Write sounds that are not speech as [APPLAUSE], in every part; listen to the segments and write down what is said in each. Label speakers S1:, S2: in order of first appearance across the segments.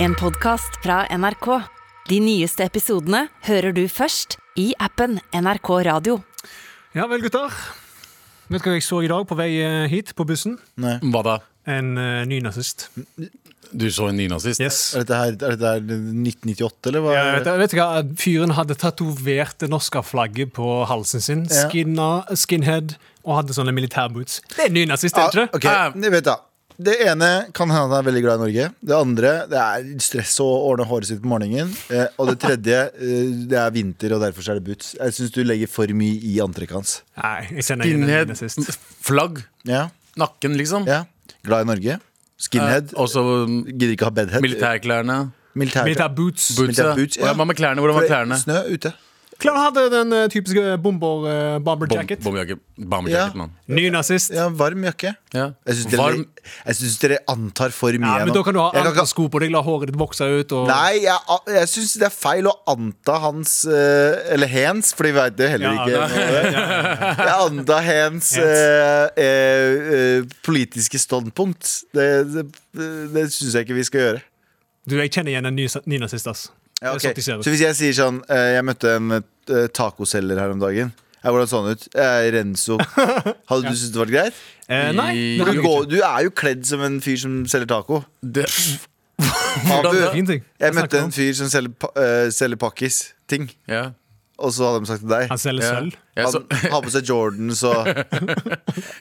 S1: En podcast fra NRK. De nyeste episodene hører du først i appen NRK Radio.
S2: Ja vel, gutter. Vet du hva jeg så i dag på vei eh, hit på bussen?
S3: Nei.
S4: Hva da?
S2: En uh, ny nazist.
S4: Du så en nynazist?
S2: Yes.
S3: Er dette her er dette her 1998, eller hva?
S2: Ja, Eh, vet, du- vet du hva? Fyren hadde tatovert det norske flagget på halsen sin.
S3: Ja.
S2: Skinna, skinhead og hadde sånne militærboots. Det er en ny nazist, er det
S3: Ah,
S2: ikke det?
S3: ok, jeg vet da. Det ene kan hende han er veldig glad i Norge. Det andre det er stress å ordne håret sitt på morgenen. Eh, og det tredje eh, det er vinter, og derfor så er det boots. Jeg syns du legger for mye i antrekket hans.
S2: Nei, jeg kjenner igjen en ny
S4: Skinhead,
S2: nazist.
S4: flagg,
S3: Ja,
S4: nakken, liksom.
S3: ja. Glad i Norge. Skinhead.
S4: Eh, også um,
S3: Gidder ikke ha bedhead.
S4: militærklærne.
S3: Militær,
S2: Militærboots.
S4: Bootsa.
S3: Militær boots, ja.
S4: Å, ja, hva med klærne? Hvordan
S3: For
S4: var
S3: det-
S4: klærne?
S3: Snø ute.
S2: Klar, han hadde den eh, typiske bomber, eh, bomber
S4: Bom-
S2: jacket.
S4: Bomberjakke. Bomberjacket,
S3: Ja.
S4: mann.
S2: Ny nazist.
S3: Ja, varm jakke.
S4: Ja.
S3: Jeg syns dere,
S4: Varm
S3: jeg synes dere antar for mye.
S2: Ja, men
S3: nå.
S2: Da kan du ha
S3: Jeg
S2: andre
S3: ikke-
S2: sko på deg, la håret ditt vokse ut. Og...
S3: Nei, jeg, jeg syns det er feil å anta hans eh, Eller hens, for de veit det heller
S2: Ja,
S3: ikke. Jeg anta hens
S2: Hens.
S3: eh, eh, eh, politiske standpunkt. Det, det, det syns jeg ikke vi skal gjøre.
S2: Du, jeg kjenner igjen en ny, ny nazist, ass.
S3: Ja, ok.
S2: Det er sånn de ser ut.
S3: Så hvis jeg sier sånn eh, Jeg møtte en eh, tacoselger her om dagen. Ja, hvordan så han ut? Eh, Renzo. Hadde du syntes det var greit?
S2: Eh, nei,
S4: I-
S2: det
S3: Du,
S2: hadde jeg
S3: går,
S2: ikke.
S3: du er jo kledd som en fyr som selger taco.
S4: Det,
S3: Abu,
S4: da?
S2: Ingenting.
S3: jeg
S2: Hva snakker
S3: møtte
S2: du om?
S3: en fyr som selger, pa- eh, selger pakkis-ting,
S4: ja.
S3: og så hadde de sagt til deg.
S2: Han selger
S4: Ja.
S2: sølv.
S4: Jeg så,
S3: Han [LAUGHS] har på seg Jordans og
S4: [LAUGHS]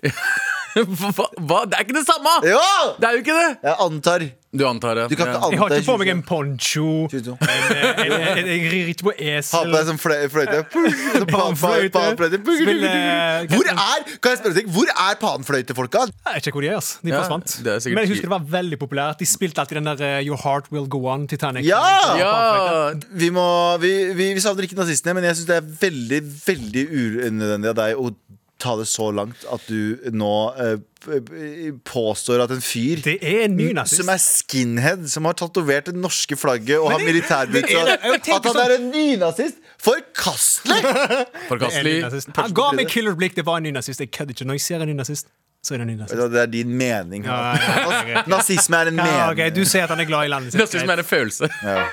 S4: hva, hva? Det er ikke det samme!
S3: Ja!
S4: Det er jo ikke det!
S3: Jeg antar.
S4: Du antar det.
S3: Du kan ikke
S4: ja.
S3: anta
S2: Jeg har ikke på meg en
S4: [LAUGHS]
S2: poncho. eh, Jeg,
S3: 22.
S2: jeg, jeg, jeg rir ikke på
S3: Ha på deg
S2: [LAUGHS] esel.
S3: sånn fløy- fløyte. Så pa- pa-
S2: Panfløyte.
S3: panfløyte.
S2: Spille-
S3: Hvor er Kan jeg spørre deg, hvor er panfløytefolka?
S2: eh, Jeg vet ikke hvor de er. ass De
S4: Ja,
S2: forsvant.
S4: det er sikkert-
S2: Men jeg husker det var veldig populært. De spilte alltid den der eh, Your Heart Will Go On, Titanic.
S3: Ja!
S4: ja.
S3: Vi, må, vi, vi, vi savner ikke nazistene, men jeg syns det er veldig veldig unødvendig av deg å ta det så langt at du nå eh, p- p- påstår at en fyr
S2: Det er en ny nazist.
S3: som er skinhead, som har tatovert det norske flagget og har
S2: det er
S3: militærbuksa
S2: det. Jeg tenker sånn-
S3: At han er en nynazist! Forkastelig!
S2: Det er en ny
S4: Forkastelig.
S2: nazist. Han ga meg killerblikk. Det var en ny nazist. Jeg kødder ikke. Når jeg ser en ny nazist, så er det en ny nazist.
S3: Ja, Det er din mening.
S2: Ja, ja, ja, ja.
S3: Nazisme er en mening.
S2: Ja, ok, Du sier at han er glad i landet sitt.
S4: Nazisme er en følelse.
S3: Ja.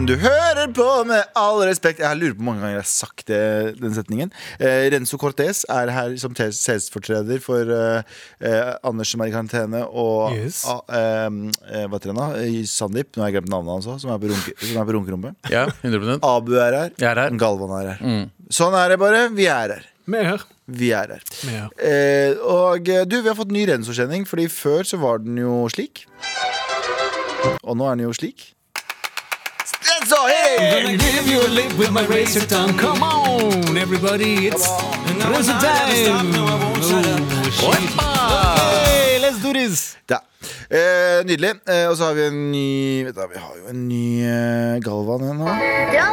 S3: Du hører på med all respekt. Jeg lurer på hvor mange ganger jeg har sagt det, den setningen. Eh, Renzo Cortez er her som tes- selsfortreder for eh, eh, Anders som er i karantene, og
S2: Yes.
S3: ah, ehm, eh, hva heter han da? Eh, Sandeep, nå har jeg glemt navnet hans òg, som er på runke- som er på runkerommet.
S4: Ja, 100
S3: Abu er her.
S4: Jeg er her. Mm.
S3: Galvan er her. Sånn er det bare. Vi er her.
S2: Vi er her.
S3: Vi er her.
S2: Vi er her.
S3: Eh, og eh, du, vi har fått ny rensorkjenning, Fordi før så var den jo slik. Og nå er den jo slik. Renzo, hey!
S2: Gonna give you a lick with my razor tongue. Come on, everybody, it's razor time. Oh, Hey, let's do this.
S3: Da. Eh, nydelig. Eh, og så har vi en ny Vet du, Vi har jo en ny eh, Galvan igjen nå.
S5: Yalla
S3: Jeg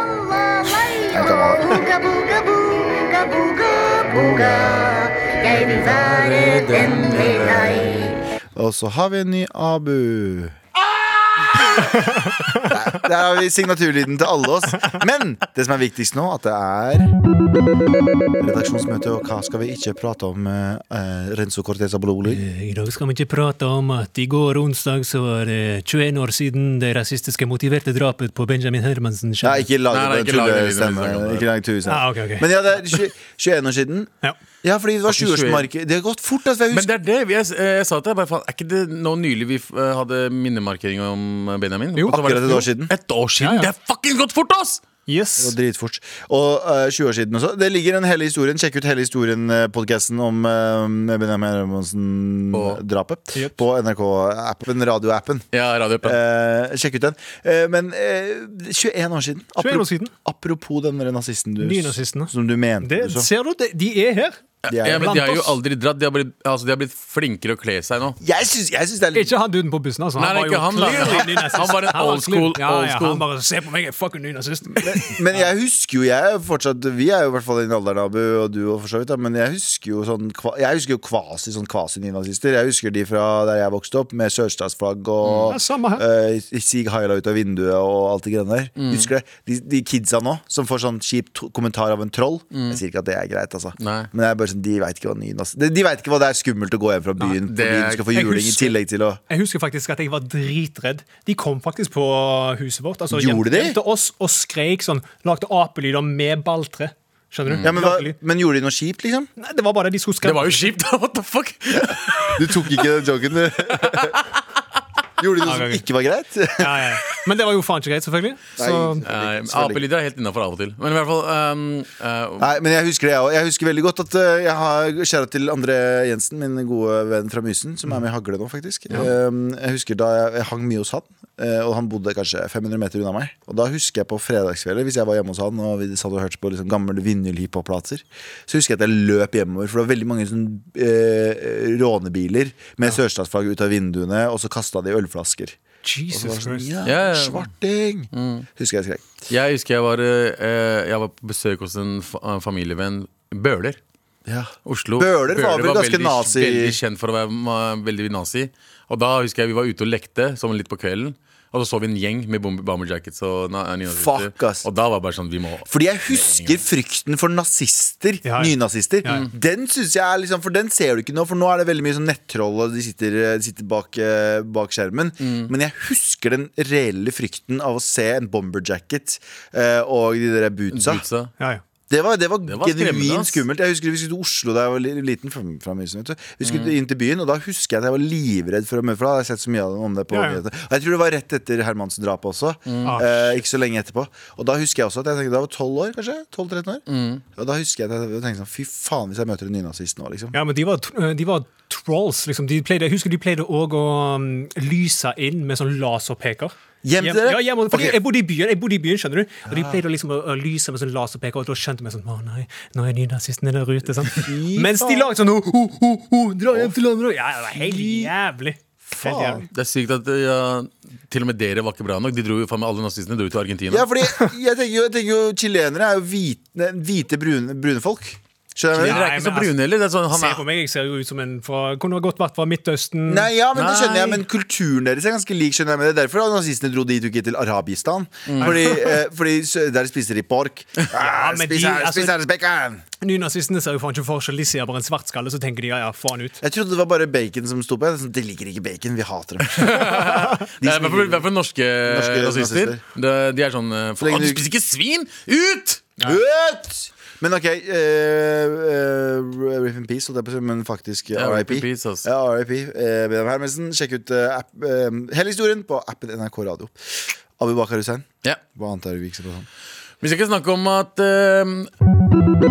S5: layla,
S3: kan ha det.
S5: booga booga booga booga booga. Jeg vil være den med deg.
S3: Og så har vi en ny Abu. Der, der har vi signaturlyden til alle oss. Men det som er viktigst nå, at det er redaksjonsmøte, og hva skal vi ikke prate om? eh, Renzo Corteza Bololi?
S2: I dag skal vi ikke prate om at i går onsdag så var det 21 år siden det rasistiske motiverte drapet på Benjamin Hermansen.
S3: Nei, ikke lag
S4: Nei, nei,
S3: den
S4: ikke lag den lyden
S3: tullestemmen.
S4: vi snakker om.
S3: Ikke lag tullestemmen.
S2: Ah, ok, ok.
S3: Men ja, det er 20 21 år siden.
S2: Ja.
S3: Ja, fordi det var
S4: 20
S3: 20-årsmarked. Det har gått fort. Altså, jeg
S4: Men
S3: husker.
S4: det er det. vi- Jeg, eh, jeg sa til deg bare, faen, Er ikke det nå nylig vi f- eh, hadde minnemarkering om eh, Benjamin?
S2: Jo,
S4: Og så var det-
S3: akkurat et år siden.
S4: Et år siden?
S2: Ja, ja.
S4: Det er fucking gått fort, ass!
S3: Det
S2: Yes.
S3: var dritfort. Og eh, 20 år siden også. Det ligger en hele historien. Sjekk ut hele historien-podkasten om eh, Benjamin
S4: På-
S3: Hermansen-drapet
S2: Jep.
S3: på NRK-appen, radioappen.
S4: Ja, radioappen.
S3: Eh, sjekk ut den. Eh, men eh, 21 år siden.
S2: 21 år siden.
S3: apropos den der nazisten du,
S2: Nynazistene.
S3: som du mente
S2: Det,
S3: du så.
S2: ser du, det, de er her.
S3: De er,
S4: ja, men
S2: blant
S4: de har jo
S2: oss.
S4: aldri dratt. De har blitt, altså, de har blitt flinkere å kle seg nå.
S3: jeg syns jeg syns det er litt
S2: Eh, Ikke han duden på bussen, altså.
S4: Nei, det er ikke han, da.
S2: clearly ny nazist.
S4: Han var en old school,
S2: Ja,
S4: old
S2: ja,
S4: school.
S2: han bare se på meg, jeg er fucking ny nazist.
S3: Men jeg husker jo jeg er fortsatt Vi er jo i hvert fall i den alderen, Abu, og du og for så vidt, da, men jeg husker jo sånn kva- Jeg husker jo kvasi sånn kvasi-nynazister. Jeg husker de fra der jeg vokste opp, med sørstatsflagg
S2: Mm.
S3: og
S2: Ja, samme her.
S3: eh, Sig Heila ut av vinduet og alt det greiene der. Husker du? det? De, de kidsa nå, som får sånn kjip to- kommentar av en troll. Jeg sier ikke at det er greit, altså.
S4: Nei.
S3: Men jeg er bare sånn de veit ikke hva nynas De, de vet ikke hva det er skummelt å gå hjem fra byen.
S4: det
S3: for byen
S4: er-
S3: skal få
S2: jeg
S3: juling i
S2: husker-
S3: tillegg til å
S2: Jeg husker faktisk at jeg var dritredd. De kom faktisk på huset vårt. Altså, hjem-
S3: Gjorde de?
S2: hjem Til oss og skreik sånn. Lagde apelyder med balltre. Skjønner du?
S3: ja, men, hva,
S2: Lagde lyd.
S3: men gjorde de noe kjipt, liksom?
S2: Nei, det var bare de skulle
S4: Det
S2: skremme.
S4: var jo kjipt, da! What the fuck?
S3: Du tok ikke den joken, du. [LAUGHS] Gjorde de noe som ikke var greit? [LAUGHS]
S2: Ja, ja. Men det var jo faen ikke greit, selvfølgelig. Så,
S3: Nei.
S4: Nei,
S3: Selvfølgelig.
S4: Apelyder er helt innafor av og til. Men i hvert fall ehm, eh,
S3: Nei, men jeg husker det jeg også. Jeg husker veldig godt at eh, jeg har kjære til André Jensen, min gode venn fra Mysen, som er med i Hagle nå, faktisk. Um, Jeg husker da jeg, jeg hang mye hos han, eh, og han bodde kanskje 500 meter unna meg. Og da husker jeg på fredagskvelder, hvis jeg var hjemme hos han og vi satt og hørte på liksom, gamle vinylhiphop-plater, så husker jeg at jeg løp hjemover, for det var veldig mange sånn, eh, rånebiler med sørstatsflagg ut av vinduene, og så kasta de ølflasker. Og så var
S2: Jesus
S3: det sånn,
S2: Christ.
S3: ja,
S4: Ja, ja. Mm.
S3: svarting! Husker jeg skrek.
S4: Jeg husker jeg var, eh, jeg var på besøk hos en fa en familievenn. Bøhler.
S3: Ja.
S4: Oslo.
S3: Bøhler var vel ganske
S4: veldig,
S3: nazi-
S4: veldig kjent for å være ma- veldig nazi. Og da husker jeg vi var ute og lekte som litt på kvelden. Og så så vi en gjeng med bomber- bomber jackets og na- eh, nynazister.
S3: Fuck, ass.
S4: Og da var det bare sånn Vi må
S3: Fordi jeg husker frykten for nazister,
S2: Ja, ja.
S3: nynazister.
S2: Ja,
S4: Mm.
S2: ja.
S3: Den synes jeg er liksom, for den ser du ikke nå, for nå er det veldig mye sånn nettroll, og de sitter, de sitter bak, eh, bak skjermen.
S4: Mm.
S3: Men jeg husker den reelle frykten av å se en bomberjacket eh, og de der bootsa.
S4: Utsa.
S2: Ja, ja.
S3: Det var, det var,
S4: Det var skremmende,
S3: genuint
S4: ass.
S3: skummelt. Jeg husker Vi skulle til Oslo da jeg var li- liten. Fra, fra Mysen, vet du. Vi skulle
S4: Mm.
S3: inn til byen, og da husker jeg at jeg var livredd for å møte For da hadde jeg sett så mye av det- om det på
S2: Ja, ja.
S3: nyhetene. Og jeg tror det var rett etter Hermansen-drapet også.
S4: Mm.
S2: Ah,
S3: Eh, ikke så lenge etterpå. Og da husker jeg også at jeg tenkte da var jeg 12 år, kanskje? 12-13 år.
S4: Mm.
S3: Og da husker jeg at jeg tenkte sånn Fy faen, hvis jeg møter en nynazist nå, liksom.
S2: Ja, men de var, tr- de var trolls, liksom. De pleide, jeg husker de pleide òg å um, lyse inn med sånn laserpeker.
S3: Hjem til dere?
S2: Ja, hjem, fordi
S3: Ok. Ah.
S2: jeg, bodde i byen, jeg bodde i byen, skjønner du. Og de pleide å liksom å, å lyse med sånn laserpeker, og da skjønte vi sånn Å nei, nå er nynazistene der ute. Sånn. [LAUGHS] Mens de lagde sånn ho, ho, ho, ho, Dra hjem til andre Ja, det var helt jævlig. Helt
S3: Faen.
S2: jævlig.
S4: Det er sykt at eh, ja, til og med dere var ikke bra nok. De dro, jo- faen meg Alle nazistene dro jo til Argentina.
S3: Ja, fordi jeg tenker jo, jeg tenker jo chilenere er jo hvite, hvite brune, brune folk. Skjønner du? hva jeg
S2: Nei, men
S3: mener?
S4: Dere er ikke så brune heller. Det er sånn,
S2: Se
S4: han
S2: på
S4: er,
S2: meg, jeg ser jo ut som en fra Kunne ha godt vært fra Midtøsten.
S3: Nei, ja, men det skjønner jeg,
S4: Nei.
S3: men kulturen deres er ganske lik. skjønner jeg, men det er Derfor at nazistene dro dit og ikke til Arabistan.
S4: Mm.
S3: Fordi, eh, fordi s- der spiser de
S4: [LAUGHS]
S3: pork. Ah,
S2: men
S3: spis
S2: de-
S3: her,
S2: altså-
S3: spis her, bacon!
S2: Nynazistene ser jo faen ikke forskjell. De ser bare en svartskalle, så tenker de ja, ja, faen ut.
S3: Jeg trodde det var bare bacon som sto på. Jeg er sånn, De liker ikke bacon, vi hater
S4: [LAUGHS]
S3: dem.
S4: det er i hvert fall- i hvert fall norske,
S3: Norske
S4: nazister.
S3: nazister.
S4: De, de er sånn eh,
S3: lenge
S4: Faen, du
S3: du-
S4: spiser ikke svin! Ut!
S3: Ut! Men ok, eh, eh, Riff in Peace, holdt jeg på å si, men faktisk
S4: Ja,
S3: RIP.
S4: rip in peace, ass.
S3: Ja, RIP. Eh, Benjamin Hermansen, sjekk ut eh, app, eh, hele historien på appen NRK Radio. Abu Bakar Hussein,
S4: Ja.
S3: hva annet er det vi ikke ser på sånn?
S4: Vi skal ikke snakke om at eh,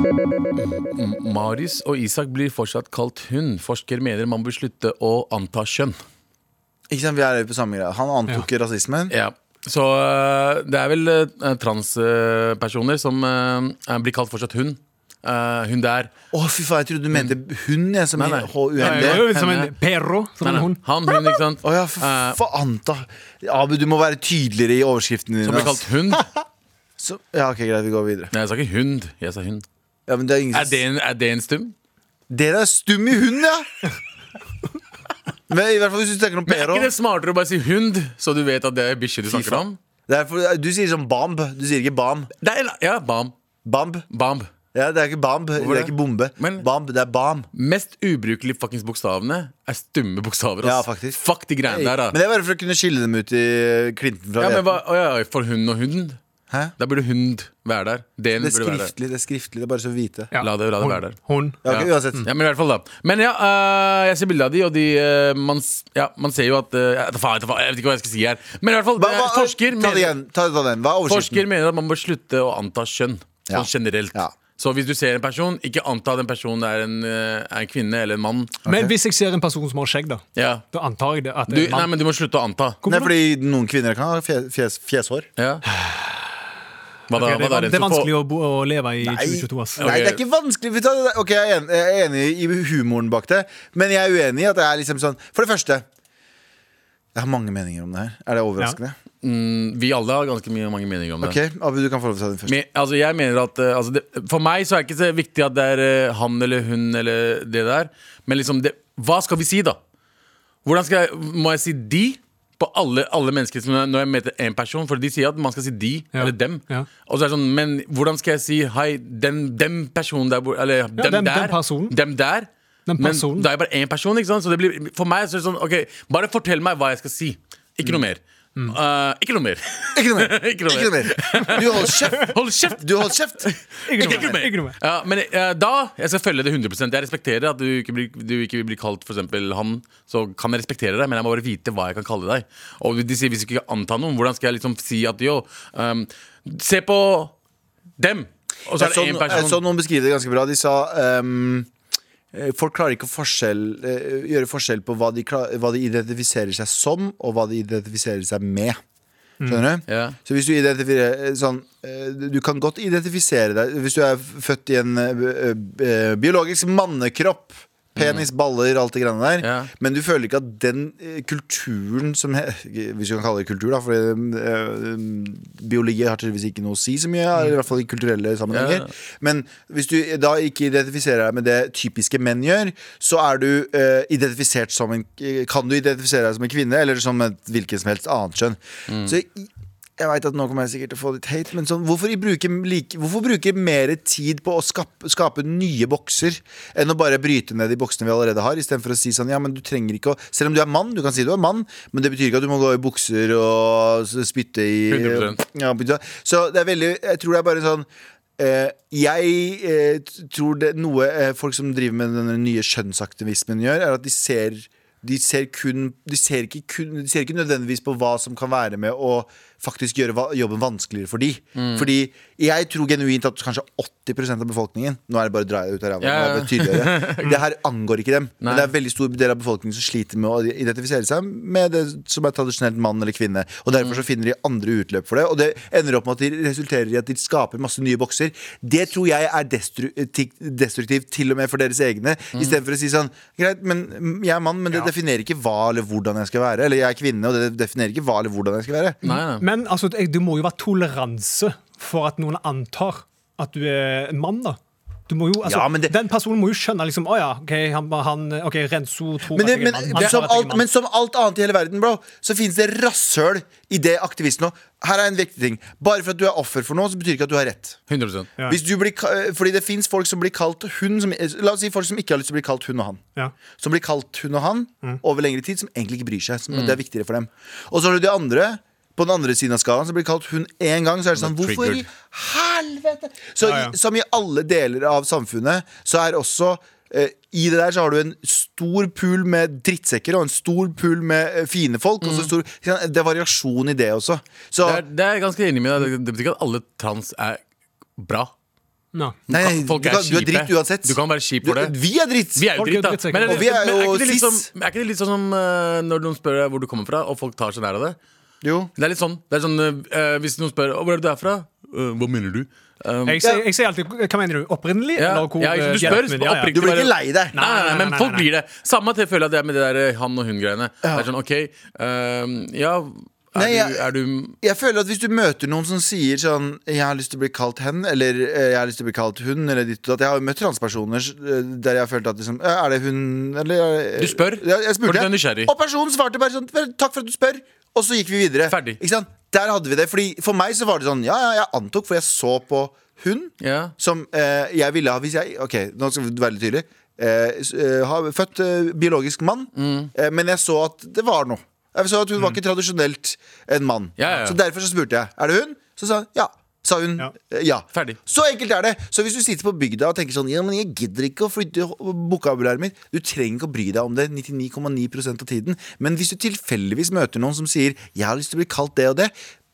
S4: M- Marius og Isak blir fortsatt kalt hun. Forsker mener man bør slutte å anta kjønn.
S3: Ikke sant, Vi er på samme greia. Han antok rasismen.
S4: Ja. Så eh, det er vel transpersoner som eh, blir kalt fortsatt hun. Eh, hun der.
S3: Å, fy faen, jeg trodde du mente hun, jeg, som i
S4: Nei, nei.
S2: Det er
S3: HUND.
S2: jo som en perro. Som
S4: Nei,
S2: en
S4: nei,
S2: hund.
S4: Han, hun, ikke sant?
S3: Å ja, for
S4: Eh,
S3: faen, da. Abu, du må være tydeligere i overskriften din.
S4: som blir kalt [LAUGHS] hun. Nei,
S3: Så, ja, ok, greit, vi går videre.
S4: jeg sa ikke hund. Jeg sa hun.
S3: Ja, men det er ingen
S4: Er det en, er det en stum?
S3: Dere er stum i hunden,
S4: [LAUGHS]
S3: ja! Men i hvert fall hvis du tenker om
S4: Men er
S3: Pero.
S4: ikke det smartere å bare si hund, så du vet at det er bikkje du snakker om?
S3: Derfor, du sier sånn bamb. Du sier ikke bam.
S4: Det er, ja, bam.
S3: Bamb.
S4: Bam.
S3: Ja, det er ikke bamb, det er
S4: det?
S3: ikke bombe.
S4: Men-
S3: bamb, det er bam.
S4: Mest ubrukelige fuckings bokstavene er stumme bokstaver.
S3: Ja,
S4: ass.
S3: faktisk.
S4: Fuck de greiene der, da.
S3: Men det er bare for å kunne skille dem ut i klinten fra
S4: ja, men
S3: hveten.
S4: hva, å, ja, ja, for hund og hund.
S3: Hæ?
S4: Da burde hund være der. Den
S3: Det er
S4: burde være der.
S3: skriftlig, det er skriftlig, det er bare så å vite.
S2: Ja.
S4: La det- la det
S2: Hun-
S4: være der.
S2: Hun.
S3: Ja, ok, uansett.
S4: Ja, Mm. men i hvert fall da Men ja, øh, jeg ser bilder av de, og de øh, man, s- ja, man ser jo at øh, ja, faen, faen, Jeg vet ikke hva jeg skal si her. Men i hvert fall,
S3: Hva,
S4: det
S3: hva,
S4: er- Eh, forsker,
S3: ta det
S4: mener,
S3: igjen. Ta, ta den. Hva er
S4: forsker
S3: overskriften?
S4: mener at man bør slutte å anta kjønn.
S3: Ja.
S4: Sånn generelt.
S3: Ja.
S4: Så hvis du ser en person, ikke anta den personen er en, øh, er en kvinne eller en mann.
S2: Men hvis jeg ser en person som har skjegg, da
S4: Ja.
S2: Da antar jeg det at
S4: Du,
S2: det er en
S4: nei,
S2: mann.
S4: men du må slutte å anta.
S2: Hvorfor
S3: Nei,
S2: da?
S3: fordi noen kvinner kan ha fjes, fjes, fjeshår.
S4: Ja. [SIGHS] Hva
S2: Ok,
S4: da?
S2: det,
S4: hva da
S2: er, det er
S4: Renzo? Få-
S2: vanskelig å, bo, å leve i 2022, ass.
S3: Nei, det er ikke vanskelig. Vi tar- Ok, jeg er enig, jeg er enig i humoren bak det, men jeg er uenig i at det er liksom sånn For det første Jeg har mange meninger om det her. Er det overraskende?
S4: Vi alle har ganske mye, mange meninger om det.
S3: Ok, Abu, du kan få lov til å ta den først.
S4: Men, altså, jeg mener at eh, altså, det, For meg så er det ikke så viktig at det er eh, han eller hun eller det der. Men liksom det, hva skal vi si, da? Hvordan skal jeg, Må jeg si de? på alle, alle mennesker som, når jeg møter én person, for de sier at man skal si de
S2: Ja.
S4: eller dem.
S2: Ja.
S4: Og så er det sånn, Men hvordan skal jeg si hei, den, dem personen der borte Eller dem,
S2: dem-
S4: der.
S2: den personen.
S4: Dem der.
S2: Den personen.
S4: Men da er jeg bare én person. ikke sant? Så det blir, for meg så er det sånn OK, bare fortell meg hva jeg skal si. Ikke
S2: Mm.
S4: noe mer. Eh, ikke noe mer. [LAUGHS]
S3: Ikke noe mer.
S4: [LAUGHS] Ikke noe
S3: Ikke noe mer. Du holder kjeft.
S4: [LAUGHS] Hold kjeft!
S3: Du holder kjeft.
S2: Ikke noe
S4: Ikke
S2: mer. Ikke noe
S4: noe mer.
S2: mer.
S4: Ja, men eh, da Jeg skal følge det 100 Jeg respekterer at du ikke blir, du ikke blir kalt for eksempel han. Så kan jeg respektere deg, men jeg må bare vite hva jeg kan kalle deg. Og de sier hvis du ikke kan anta noen, hvordan skal jeg liksom si at yo um, Se på dem! Og så
S3: Jeg
S4: er
S3: så,
S4: det én
S3: jeg så
S4: person.
S3: noen beskrive det ganske bra. De sa ehm, eh, Folk klarer ikke å forskjell, eh, gjøre forskjell på hva de, kla- hva de identifiserer seg som, og hva de identifiserer seg med. Skjønner du?
S4: Ja.
S3: Så hvis du identifiserer eh, sånn, eh, Du kan godt identifisere deg Hvis du er født i en eh, b- eh, biologisk mannekropp Penis, baller, alt det greiene der
S4: Mm. Ja.
S3: Men du føler ikke at den eh, kulturen som he, Hvis du kan kalle det kultur da For eh, eh, biologi har tydeligvis ikke noe å si så mye eller I hvert fall i kulturelle sammenhenger
S4: Mm. Ja.
S3: Men hvis du da ikke identifiserer deg med det typiske menn gjør Så er du eh, identifisert som en eh, Kan du identifisere deg som en kvinne Eller som et, hvilken som helst annet kjønn
S4: Mm.
S3: Så i- jeg vet at nå kommer jeg sikkert til å få litt hate, men sånn, hvorfor, i bruke, like, hvorfor bruke mer tid på å skape, skape nye bokser enn å bare bryte ned de boksene vi allerede har, istedenfor å si sånn ja, men du trenger ikke å Selv om du er mann, du kan si du er mann, men det betyr ikke at du må gå i bukser og s- spytte i
S4: 100%.
S3: ja, bytte. Så det er veldig Jeg tror det er bare sånn eh, jeg eh, t- tror det noe eh, folk som driver med den nye skjønnsaktivismen gjør, er at de ser de ser, kun, de, ser ikke kun, de ser ikke nødvendigvis på hva som kan være med å faktisk gjøre va- jobben vanskeligere for de.
S4: Mm.
S3: Fordi jeg tror genuint at kanskje 80 av befolkningen Nå er det bare å dra ut av ræva.
S4: Ja, ja.
S3: nå er det
S4: [LAUGHS]
S3: tydeligere. Det her angår ikke dem.
S4: Nei.
S3: Men det er en veldig stor del av befolkningen som sliter med å identifisere seg med det som er tradisjonelt mann eller kvinne. Og Derfor så
S4: Mm.
S3: finner de andre utløp for det, og det ender opp med at de resulterer i at de skaper masse nye bokser. Det tror jeg er destru ti- destruktivt, til og med for deres egne.
S4: Mm.
S3: Istedenfor å si sånn Greit, men mm, jeg er mann, men det definerer ikke hva eller hvordan jeg skal være. Eller jeg er kvinne, og det definerer ikke hva eller hvordan jeg skal være.
S4: Nei, nei.
S2: Men altså, det det må jo være toleranse for at noen antar at du er en mann, da. Du må jo, altså,
S3: Ja, men det-
S2: Den personen må jo skjønne liksom, å ja, ok, han, han, ok, Renzo tror
S3: Men,
S2: at
S3: det,
S2: jeg er
S3: men,
S2: mann.
S3: men,
S2: Han
S3: som
S2: tror at jeg er
S3: alt,
S2: mann.
S3: men som alt annet i hele verden, bro, så finnes det rasshøl i det aktivisten òg. Her er en viktig ting. Bare for at du er offer for noe, så betyr ikke at du har rett.
S4: 100
S2: Ja.
S3: Hvis du blir, ka- fordi det fins folk som blir kalt hun som, La oss si folk som ikke har lyst til å bli kalt hun og han.
S2: Ja. Mm.
S3: Som blir kalt hun og han over lengre tid, som egentlig ikke bryr seg.
S4: Mm.
S3: Som Det er viktigere for dem Og så har du de andre på den andre siden av skalaen som blir kalt hun én gang. Så er det sånn,
S4: er
S3: hvorfor i
S4: triggered.
S3: helvete Så
S2: Ja, ja.
S3: i- som i alle deler av samfunnet, så er også eh, i det der så har du en stor pool med drittsekker og en stor pool med eh, fine folk. Og så stor, det er variasjon i det også. Så,
S4: Mm. Det, er, det er jeg ganske enig med deg. Det- Det betyr ikke at alle trans er bra.
S2: Nei.
S3: nei, nei,
S4: Folk
S3: du,
S4: er
S3: kan, du er
S4: kjipe.
S3: dritt uansett.
S4: Du kan være kjip for det.
S3: Du- Vi er dritt.
S4: Vi er jo
S2: Folk er
S4: dritt, da.
S2: drittsekker.
S4: Men er, det,
S3: Og vi er
S4: men er
S3: jo
S4: ikke det litt sånn,
S3: cis.
S4: er ikke det litt sånn som eh, når noen spør deg hvor du kommer fra, og folk tar seg nær av det?
S3: Jo.
S4: Det er litt sånn, det er sånn eh, Hvis noen spør «Å, hvor er det du er fra, Eh, hva mener du? Um,
S2: Jeg, sier, jeg sier alltid Hva mener du? Opprinnelig?
S4: Ja,
S2: eller hvor,
S4: ja, ikke sant, du
S2: eh,
S4: spør,
S2: hjelpen min-
S4: så oppriktig.
S3: Du blir ikke lei deg.
S4: Nei, nei, nei, men
S2: nei, nei,
S4: folk
S2: nei.
S4: blir det. Samme at jeg føler at det er med det der eh, han og hun-greiene. Det er sånn, ok eh, Ja, er,
S3: Nei, jeg-
S4: du, er du
S3: Jeg føler at Hvis du møter noen som sier sånn 'Jeg har lyst til å bli kalt hen', eller eh, 'Jeg har lyst til å bli kalt hun', eller ditt og datt. Jeg har jo møtt transpersoner eh, der jeg har følt at liksom «Eh, 'Er det hun', eller er det-
S4: Du spør,
S3: Ja, jeg
S4: for du
S3: spurte.
S4: er nysgjerrig.
S3: Og personen svarte bare sånn 'Takk for at du spør', og så gikk vi videre.
S4: Ferdig.
S3: Ikke sant? Der hadde vi det. Fordi For meg så var det sånn Ja, ja, jeg antok, for jeg så på hun
S4: Ja.
S3: som eh, jeg ville ha hvis jeg Ok, nå skal vi være litt tydelig. Eh, s- eh, har født eh, biologisk mann,
S4: Mm.
S3: eh, men jeg så at det var noe. Jeg så at Hun var ikke tradisjonelt en mann.
S4: Ja, ja, ja.
S3: Så derfor så spurte jeg Er det hun. Så sa hun ja. Sa hun
S2: Ja.
S3: eh, ja.
S4: Ferdig.
S3: Så enkelt er det. Så hvis du sitter på bygda og tenker sånn Ja, men jeg gidder ikke å flytte bokabulæret mitt. Du trenger ikke å bry deg om det 99,9 av tiden. Men hvis du tilfeldigvis møter noen som sier Jeg har lyst til å bli kalt det og det,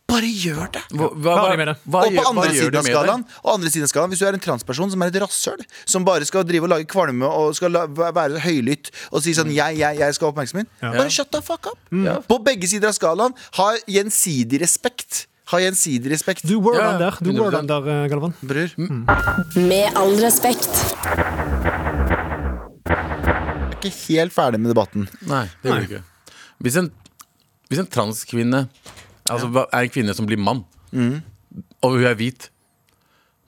S3: bare gjør det
S4: Hva, hva,
S2: Hva
S4: hva,
S2: er det med det?
S4: hva,
S3: og på
S4: gjør- hva
S3: andre
S4: gjør
S3: siden
S4: det
S3: av
S4: med deg?
S3: skalaen, og andre siden av skalaen Hvis du er en transperson som er et rasshøl, som bare skal drive og lage kvalme og skal la, væ- være høylytt og si
S4: Mm.
S3: sånn 'jeg, jeg, jeg skal ha oppmerksomhet', bare shut the fuck up. På begge sider av skalaen, ha gjensidig respekt. Ha gjensidig respekt.
S2: Du word
S4: Ja,
S2: on der, du word
S4: 100%.
S2: on der eh, Galvan.
S3: Bror.
S6: Med all respekt.
S3: Jeg er ikke helt ferdig med debatten.
S4: Nei, det gjør du ikke. Hvis en, hvis en transkvinne altså, hva- er en kvinne som blir mann,
S3: Mm.
S4: og hun er hvit,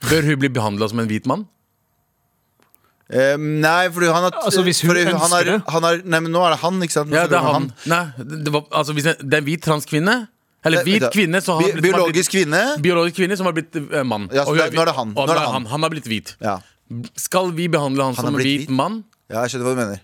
S4: bør hun bli behandla som en hvit mann?
S3: Eh, nei, fordi han har,
S2: Altså, hvis hun
S3: fordi han har,
S2: ønsker det.
S3: han har Nei, men nå er det han, ikke sant? Nå
S4: Ja,
S3: snakker
S4: det er
S3: vi om
S4: han. Nei, det det var, altså, hvis det, det er en hvit transkvinne. Eller
S3: Nei,
S4: hvit
S3: vent da.
S4: kvinne som har
S3: Bi-
S4: blitt- som har
S3: Biologisk kvinne.
S4: blitt, biologisk kvinne som har blitt eh, mann.
S3: Ja, så
S4: Og hun
S3: det- nå er det han.
S4: og
S3: Nå er det han.
S4: han. Han har blitt hvit.
S3: Ja.
S4: Skal vi behandle han,
S3: Han har
S4: som en
S3: blitt
S4: hvit,
S3: hvit.
S4: mann?
S3: ja, jeg skjønner hva du mener.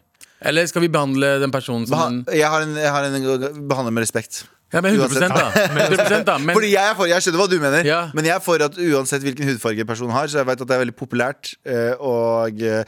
S4: Eller skal vi behandle den personen som
S3: Beha
S4: en
S3: jeg har en, jeg har en behandler med respekt.
S4: Ja, [LAUGHS] men 100 da.
S3: Uansett.
S4: 100 da. Men,
S3: Fordi jeg, er for, jeg skjønner hva du mener,
S4: Ja.
S3: men jeg er for at uansett hvilken hudfarge personen har, så jeg vet at det er veldig populært. eh, Og eh,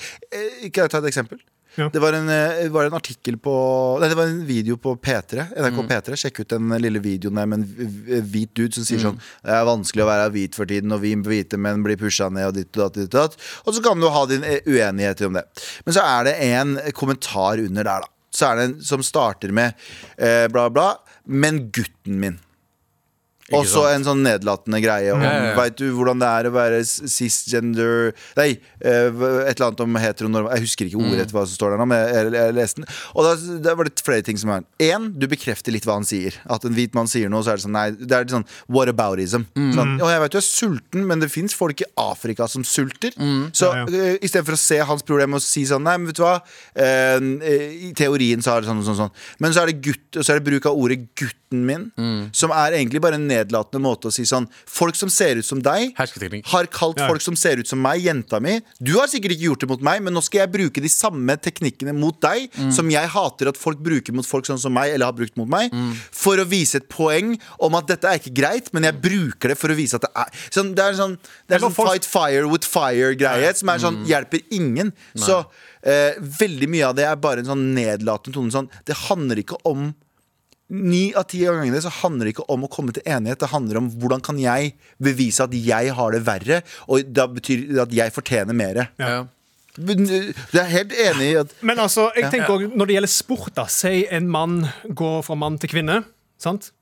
S3: Kan jeg ta et eksempel?
S2: Ja.
S3: Det var en, eh, var en artikkel på Nei, det var en video på P3. NRK P3. Sjekk ut den lille videoen der med en hv- hvit dude som sier sånn Det er vanskelig å være hvit for tiden, og vi hvite menn blir pusha ned, og ditt og datt, ditt og datt. Og så kan du ha dine uenigheter om det. Men så er det en kommentar under der, da. Så er det en som starter med eh, bla, bla. Men gutten min. Og så en sånn nedlatende greie om
S4: ja, ja.
S3: Veit du hvordan det er å være s- cisgender Nei, eh, et eller annet om heteronorm Jeg husker ikke
S4: Mm.
S3: ordrett hva som står der nå, men jeg, jeg, jeg leste den. Og da, da var det flere ting som var Én, du bekrefter litt hva han sier. At en hvit mann sier noe, så er det sånn Nei, det er litt sånn what aboutism.
S4: Mm.
S3: Sånn, og jeg veit du er sulten, men det fins folk i Afrika som sulter. Så
S2: Mm. Ja, ja.
S3: eh, i stedet for å se hans problem og si sånn Nei, men vet du hva Eh, eh, I teorien så er det sånn og sånn, sånn Men så er det gutt Og så er det bruk av ordet gutten min
S2: Mm.
S3: Som er egentlig bare en nedlatende måte å si sånn Folk som ser ut som deg
S4: Hersketeknikk.
S3: Har kalt
S2: Ja.
S3: folk som ser ut som meg Jenta mi Du har sikkert ikke gjort det mot meg Men nå skal jeg bruke de samme teknikkene mot deg Som jeg hater at folk bruker mot folk sånn som meg Eller har brukt mot meg For å vise et poeng om at dette er ikke greit Men jeg bruker det for å vise at det er sånn, Det er sånn, det er
S2: var
S3: sånn
S2: folk-
S3: fight fire with fire-greie, som er sånn hjelper ingen. Så eh, veldig mye av det er bare en sånn nedlatende tone. Sånn, det handler ikke om Ni av ti av gangene så handler det ikke om å komme til enighet. Det handler om hvordan kan jeg bevise at jeg har det verre, og da betyr det at jeg fortjener mer.
S4: Ja.
S3: Men, eh, Jeg er helt enig i at
S2: Men altså, jeg tenker også, når det gjelder sport, da Si en mann går fra mann til kvinne. Sant?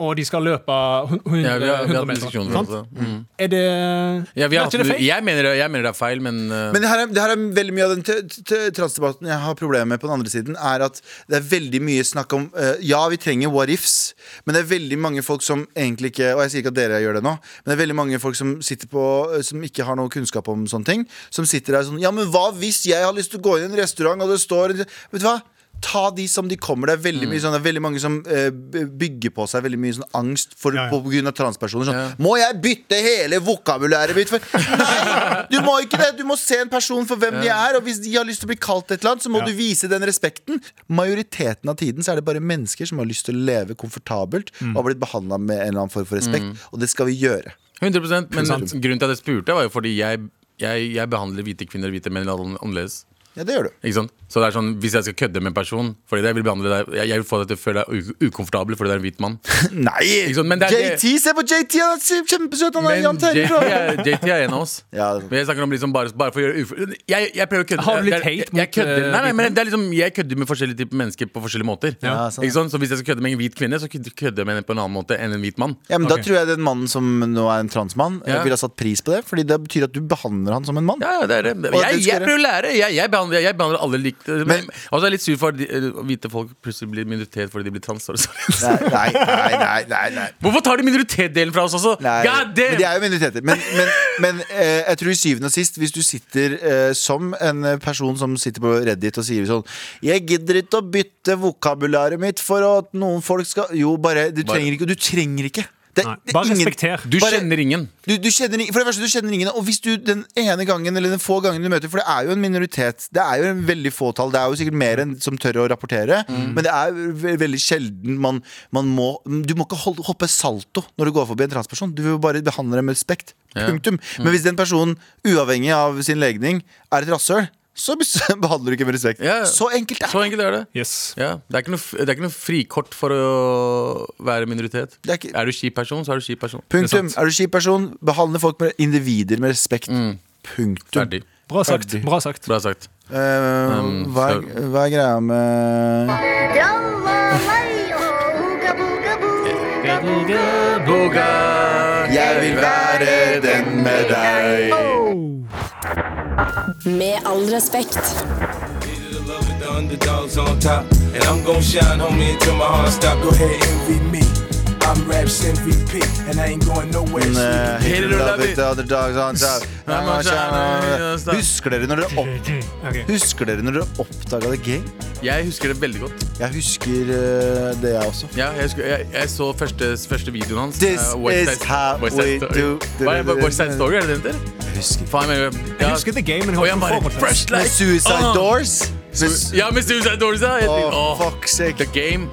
S2: Og de skal løpe hun- hun-
S4: Mm. Ja, vi har, vi har
S2: 100
S4: hatt
S2: meter.
S4: diskusjoner om
S2: sant?
S4: det. Mm.
S2: Er det
S4: Ja, vi
S2: Er ikke
S4: har,
S2: det
S4: hatt-
S2: feil?
S4: jeg, mener, det- jeg mener det er feil, men, uh,
S3: Men det her, er, det her er veldig mye av den t- t- transdebatten jeg har problemer med på den andre siden, er at det er veldig mye snakk om eh, Ja, vi trenger what ifs, men det er veldig mange folk som egentlig ikke Og jeg sier ikke at dere gjør det nå, men det er veldig mange folk som sitter på eh, Som ikke har noe kunnskap om sånne ting, som sitter der sånn Ja, men hva hvis jeg har lyst til å gå inn i en restaurant, og det står en- Vet du hva? Ta de som de kommer. Det er veldig, mye sånn, det er veldig mange som eh, b- bygger på seg veldig mye sånn angst for,
S2: Ja, ja.
S3: på på grunn av transpersoner. Sånn, Må jeg bytte hele vokabulæret mitt?
S4: [LAUGHS]
S3: For? Nei, du må ikke det! Du må se en person for hvem de er. Og hvis de har lyst til å bli kalt et eller annet, så må
S2: Ja.
S3: du vise den respekten. Majoriteten av tiden så er det bare mennesker som har lyst til å leve komfortabelt
S4: Mm.
S3: og har blitt behandla med en eller annen form for respekt, og det skal vi gjøre.
S4: 100 Men grunnen til at jeg spurte, var jo fordi jeg, jeg, jeg behandler hvite kvinner og hvite menn ann- annerledes.
S3: Ja, det gjør du.
S4: Ikke sant? Så det er sånn, Hvis jeg skal kødde med en person Fordi jeg vil behandle deg Jeg, jeg vil få deg til å føle deg u- ukomfortabel fordi du er en hvit mann.
S3: Nei!
S4: Ikke sant, men det er-
S3: JT, se på JT! Han er kjem- kjempesøt! Han er
S4: Men
S3: Jan
S4: JT
S3: Terje!
S4: [LAUGHS] er, JT er en av oss.
S3: Ja, det-
S4: Men jeg snakker om liksom bare, bare for å gjøre uf jeg, jeg prøver å kødde
S2: Har du litt
S4: jeg- jeg-
S2: hate
S4: jeg
S2: mot, eh,
S4: kødder- Nei, nei,
S2: hvite
S4: men det er liksom Jeg kødder med forskjellige typer mennesker på forskjellige måter.
S3: Ja, sånn,
S4: ikke sant? Så hvis jeg skal kødde med en hvit kvinne, så kød- kødder jeg med henne på en annen måte enn en hvit mann.
S3: Ja, men
S2: Ok.
S3: Da tror jeg den mannen som nå er en transmann, eh,
S4: Ja.
S3: ville ha satt pris på det. Fordi det betyr at du behandler han som en mann.
S4: Ja, ja, det er det.
S3: Og
S4: Jeg,
S3: det skal
S4: jeg
S3: du-
S4: prøver å lære. Jeg, jeg, behandler, jeg behandler alle likt. Men,
S3: Men-
S4: altså, jeg er litt sur for at de, eh, hvite folk plutselig blir minoritet fordi de blir trans. Sorry, sorry.
S3: Nei, nei, nei, nei, nei, nei.
S4: Hvorfor tar de minoritetsdelen fra oss også?
S3: Nei,
S4: God damn!
S3: Men de er jo minoriteter. Men, men, men eh, jeg tror i syvende og sist, hvis du sitter eh, som en eh, person som sitter på Reddit og sier sånn Jeg gidder ikke å bytte vokabulæret mitt for at noen folk skal Jo, bare Du
S4: Bare-
S3: trenger ikke. Du trenger ikke. Det,
S2: Nei,
S3: det er
S2: bare
S3: ingen-
S2: respekter.
S4: Du
S3: bare-
S4: kjenner ingen.
S3: du, du kjenner, ing- for det første, du kjenner ingen Og hvis du den ene gangen Eller den få gangen du møter For det er jo en minoritet Det er jo en veldig fåtall Det er jo sikkert mer enn som tør å rapportere
S4: Mm.
S3: Men det er ve- veldig sjelden man, man må, Du må ikke holde, hoppe salto Når du går forbi en transperson Du vil jo bare behandle dem med respekt Punktum
S4: Mm.
S3: Men hvis den personen Uavhengig av sin legning Er et rassør Så [LAUGHS] behandler du ikke med respekt
S4: Ja, ja.
S3: Så enkelt er det
S4: Så enkelt er det.
S2: Yes.
S4: Ja, det, er ikke noe, f- det er ikke noe frikort for å være minoritet.
S3: Det er ikke-
S4: du kjip person, så er du kjip person.
S3: Punktum Er du kjip person Behandle folk med individer med respekt Punktum
S4: Mm. Ferdig.
S2: Bra sagt.
S3: Ferdig.
S2: Bra sagt.
S4: Bra sagt.
S3: Eh, hva, er,
S4: Um, så-
S3: hva er greia med
S5: Trallalei og uga buga buga buga.
S3: Jeg vil være den med deg.
S6: Med all respekt.
S7: The underdogs on top, and I'm gon' shine, homie, until my heart stop. Go ahead, envy me. I'm Raps MVP, and I ain't going nowhere.
S3: Men,
S7: sleeping.
S3: eh,
S4: Hate it or love it.
S3: the other dogs on top.
S4: I'm a shine-
S3: Husker dere når dere opp
S2: Ok.
S3: Husker dere når dere oppdaga The Game?
S4: Jeg husker det veldig godt.
S3: Jeg husker eh, det, jeg også.
S4: Ja, jeg, husker, jeg, jeg så første, første videoen hans.
S3: This
S4: eh, West
S3: is how
S4: West
S3: we
S4: Side Story.
S3: do-
S4: Hva er det, West Side Story, er det den heter?
S3: Jeg husker
S4: Faen, jeg,
S2: Jeg husker The Game, men jeg har
S4: Og jeg
S2: ikke
S4: bare
S2: forhold til det.
S4: Fresh
S3: Med
S4: like
S3: Suicide
S4: ah!
S3: Doors. Med,
S4: Su- Ja, med Suicide Doors, ja. Jeg tenkte,
S3: Åh,
S4: åh,
S3: fuck sake.
S4: The Game.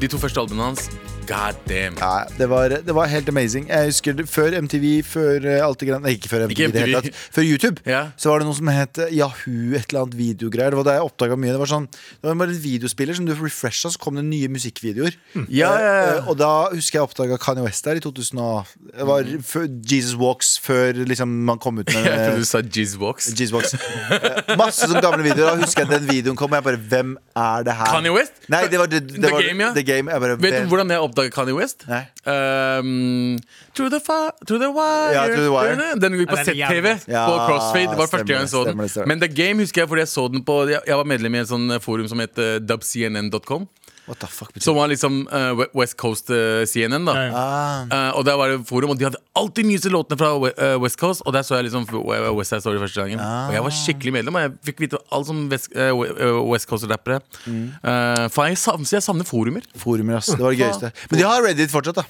S4: De to første albumene hans. God damn.
S3: Nei, det var, det var helt amazing. Jeg husker det, Før MTV, før eh, alt det greiene Nei, ikke før MTV,
S4: Ikke
S3: i Det hele
S4: MTV.
S3: tatt, før YouTube,
S4: Ja.
S3: så var det noe som het eh, Yahoo, et eller annet videogreier. Det var da jeg oppdaga mye. Det var sånn, det var bare en videospiller som du refresha, så kom det nye musikkvideoer.
S4: Hmm. Ja, ja,
S3: Eh,
S4: ja.
S3: eh, Og da husker jeg oppdaga Kanye West der i 2000 og, Det var før Jesus Walks, før liksom man kom ut med
S4: Hmm. [LAUGHS] Jeg trodde du sa Jizzbox.
S3: Jizzbox. Eh, Masse sånne gamle videoer. Og husker jeg den videoen kom, og jeg bare Hvem er det her?
S4: Kanye West?
S3: Nei, det
S4: [LAUGHS]
S3: var The, det
S4: The
S3: var,
S4: Game, ja.
S3: The Game. Jeg bare,
S4: Vet du
S3: hvem-
S4: hvordan jeg oppdaget Kanye West?
S3: Nei.
S4: Um, through, the fa through the wire,
S3: Ja, Through the Wire.
S4: Den gikk på
S2: Ja, den er
S4: ZTV,
S2: jævlig.
S3: Ja,
S4: på Crossfade. Det var
S3: stemmer
S4: første gang jeg så
S3: det,
S4: den.
S3: stemmer det, stemmer det.
S4: Men The Game husker jeg fordi jeg så den på Jeg, jeg var medlem i et sånn forum som het eh, dubcnn.com.
S3: What the fuck betyr
S4: Som var liksom eh, We- West Coast eh, CNN, da.
S3: Ah.
S4: Eh, og der var det forum, og de hadde alltid nyeste låtene fra We- eh, West Coast. Og der så jeg liksom F- We- West Side Story første gangen. Og jeg var
S3: Ah.
S4: skikkelig medlem, og jeg fikk vite alt som West, eh, We- eh, West Coast-rappere.
S3: Mm.
S4: Eh, faen, jeg savner, jeg savner forumer.
S3: Forumer, ass. Det var det gøyeste. Men de har Reddit fortsatt, da.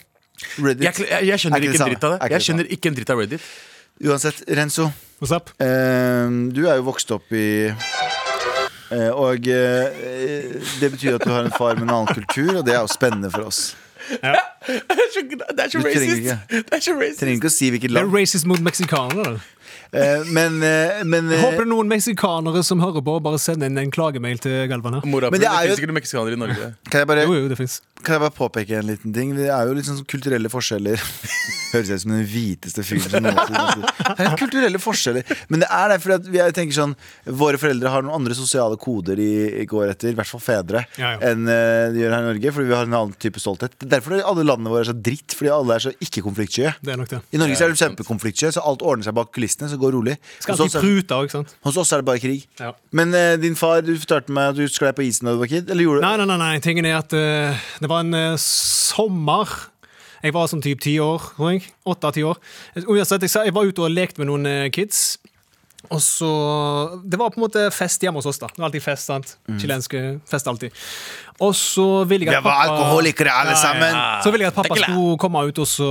S3: Reddit.
S4: Jeg, jeg,
S3: Er
S4: jeg skjønner
S3: ikke det
S4: ikke en
S3: samme.
S4: dritt av
S3: Er
S4: det.
S3: ikke
S4: Jeg
S3: det
S4: skjønner ikke en dritt av Reddit.
S3: Uansett, Renzo.
S2: What's up?
S3: eh, du er jo vokst opp i eh, Og eh, det betyr at du har en far med en annen kultur, og det er jo spennende for oss.
S4: [LAUGHS] Det er så, det er så
S3: Du trenger
S4: racist!
S3: ikke.
S4: Det er så racist.
S3: Trenger ikke å si hvilket
S2: Det er
S3: land.
S2: racist mot meksikanere. da.
S3: Eh, men eh, men,
S2: Jeg
S3: eh,
S2: håper det er noen meksikanere som hører på. Bare send inn en klagemail til Galvan her.
S4: Morapuler,
S3: Men det er
S4: det
S3: jo-
S4: finnes ikke noen meksikanere i Norge.
S3: kan, jeg bare,
S2: Jo, jo, det fins.
S3: kan jeg bare påpeke en liten ting? Det er jo litt sånn kulturelle forskjeller. [LAUGHS] Høres ut som den hviteste fyren som noensinne har sett. Det er kulturelle forskjeller. Men det er det, fordi at vi- jeg tenker sånn Våre foreldre har noen andre sosiale koder de går etter, i hvert fall fedre,
S2: Ja, ja.
S3: enn eh, de gjør her i Norge, fordi vi har en annen type stolthet. Det er Derfor er alle landene våre er så dritt, fordi alle er så ikke-konfliktsky.
S2: Det er nok det.
S3: I Norge så er de kjempekonfliktsky, så alt ordner seg bak kulissene, så det går rolig.
S2: Skal
S3: Hos oss
S2: alltid
S3: er-
S2: prute òg, ikke sant?
S3: hos oss er det bare krig.
S2: Ja.
S3: Men eh, din far, du fortalte meg at du sklei på isen da du var kid? Eller gjorde du
S2: Nei, nei, nei, nei. tingen er at eh, det var en eh, sommer Jeg var sånn typ ti år, tror jeg. Åtte-ti år. Uansett, jeg, sa- jeg var ute og lekte med noen eh, kids. Og så Det var på en måte fest hjemme hos oss, da. Det var alltid fest, sant? Chilenske fest alltid. Og så ville jeg
S3: Mm. Vi
S2: at
S3: var
S2: pappa
S3: alkoholikere alle sammen.
S2: Så ville jeg at pappa
S4: Tequila.
S2: skulle komme ut og så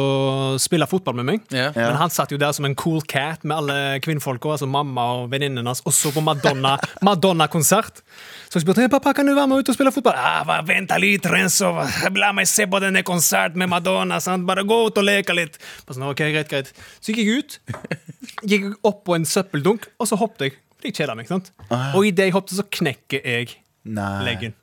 S2: spille fotball med meg.
S4: Ja.
S2: Men han satt jo der som en cool cat med alle kvinnfolka, altså mamma og venninnen hans, og så på Madonna- [LAUGHS] Madonna-konsert. så jeg spurte hey, pappa, kan du være med ut og spille fotball. Ah, va, venta litt, Renzo. La meg se på denne konserten med Madonna. Sant? Bare gå ut og leke litt. Bare Sånn, ok, greit, greit. Så gikk jeg ut, gikk opp på en søppeldunk, og så hoppet jeg. For Jeg kjeda meg. ikke sant? Og idet jeg hoppet, så knekker jeg
S3: Nei.
S2: leggen.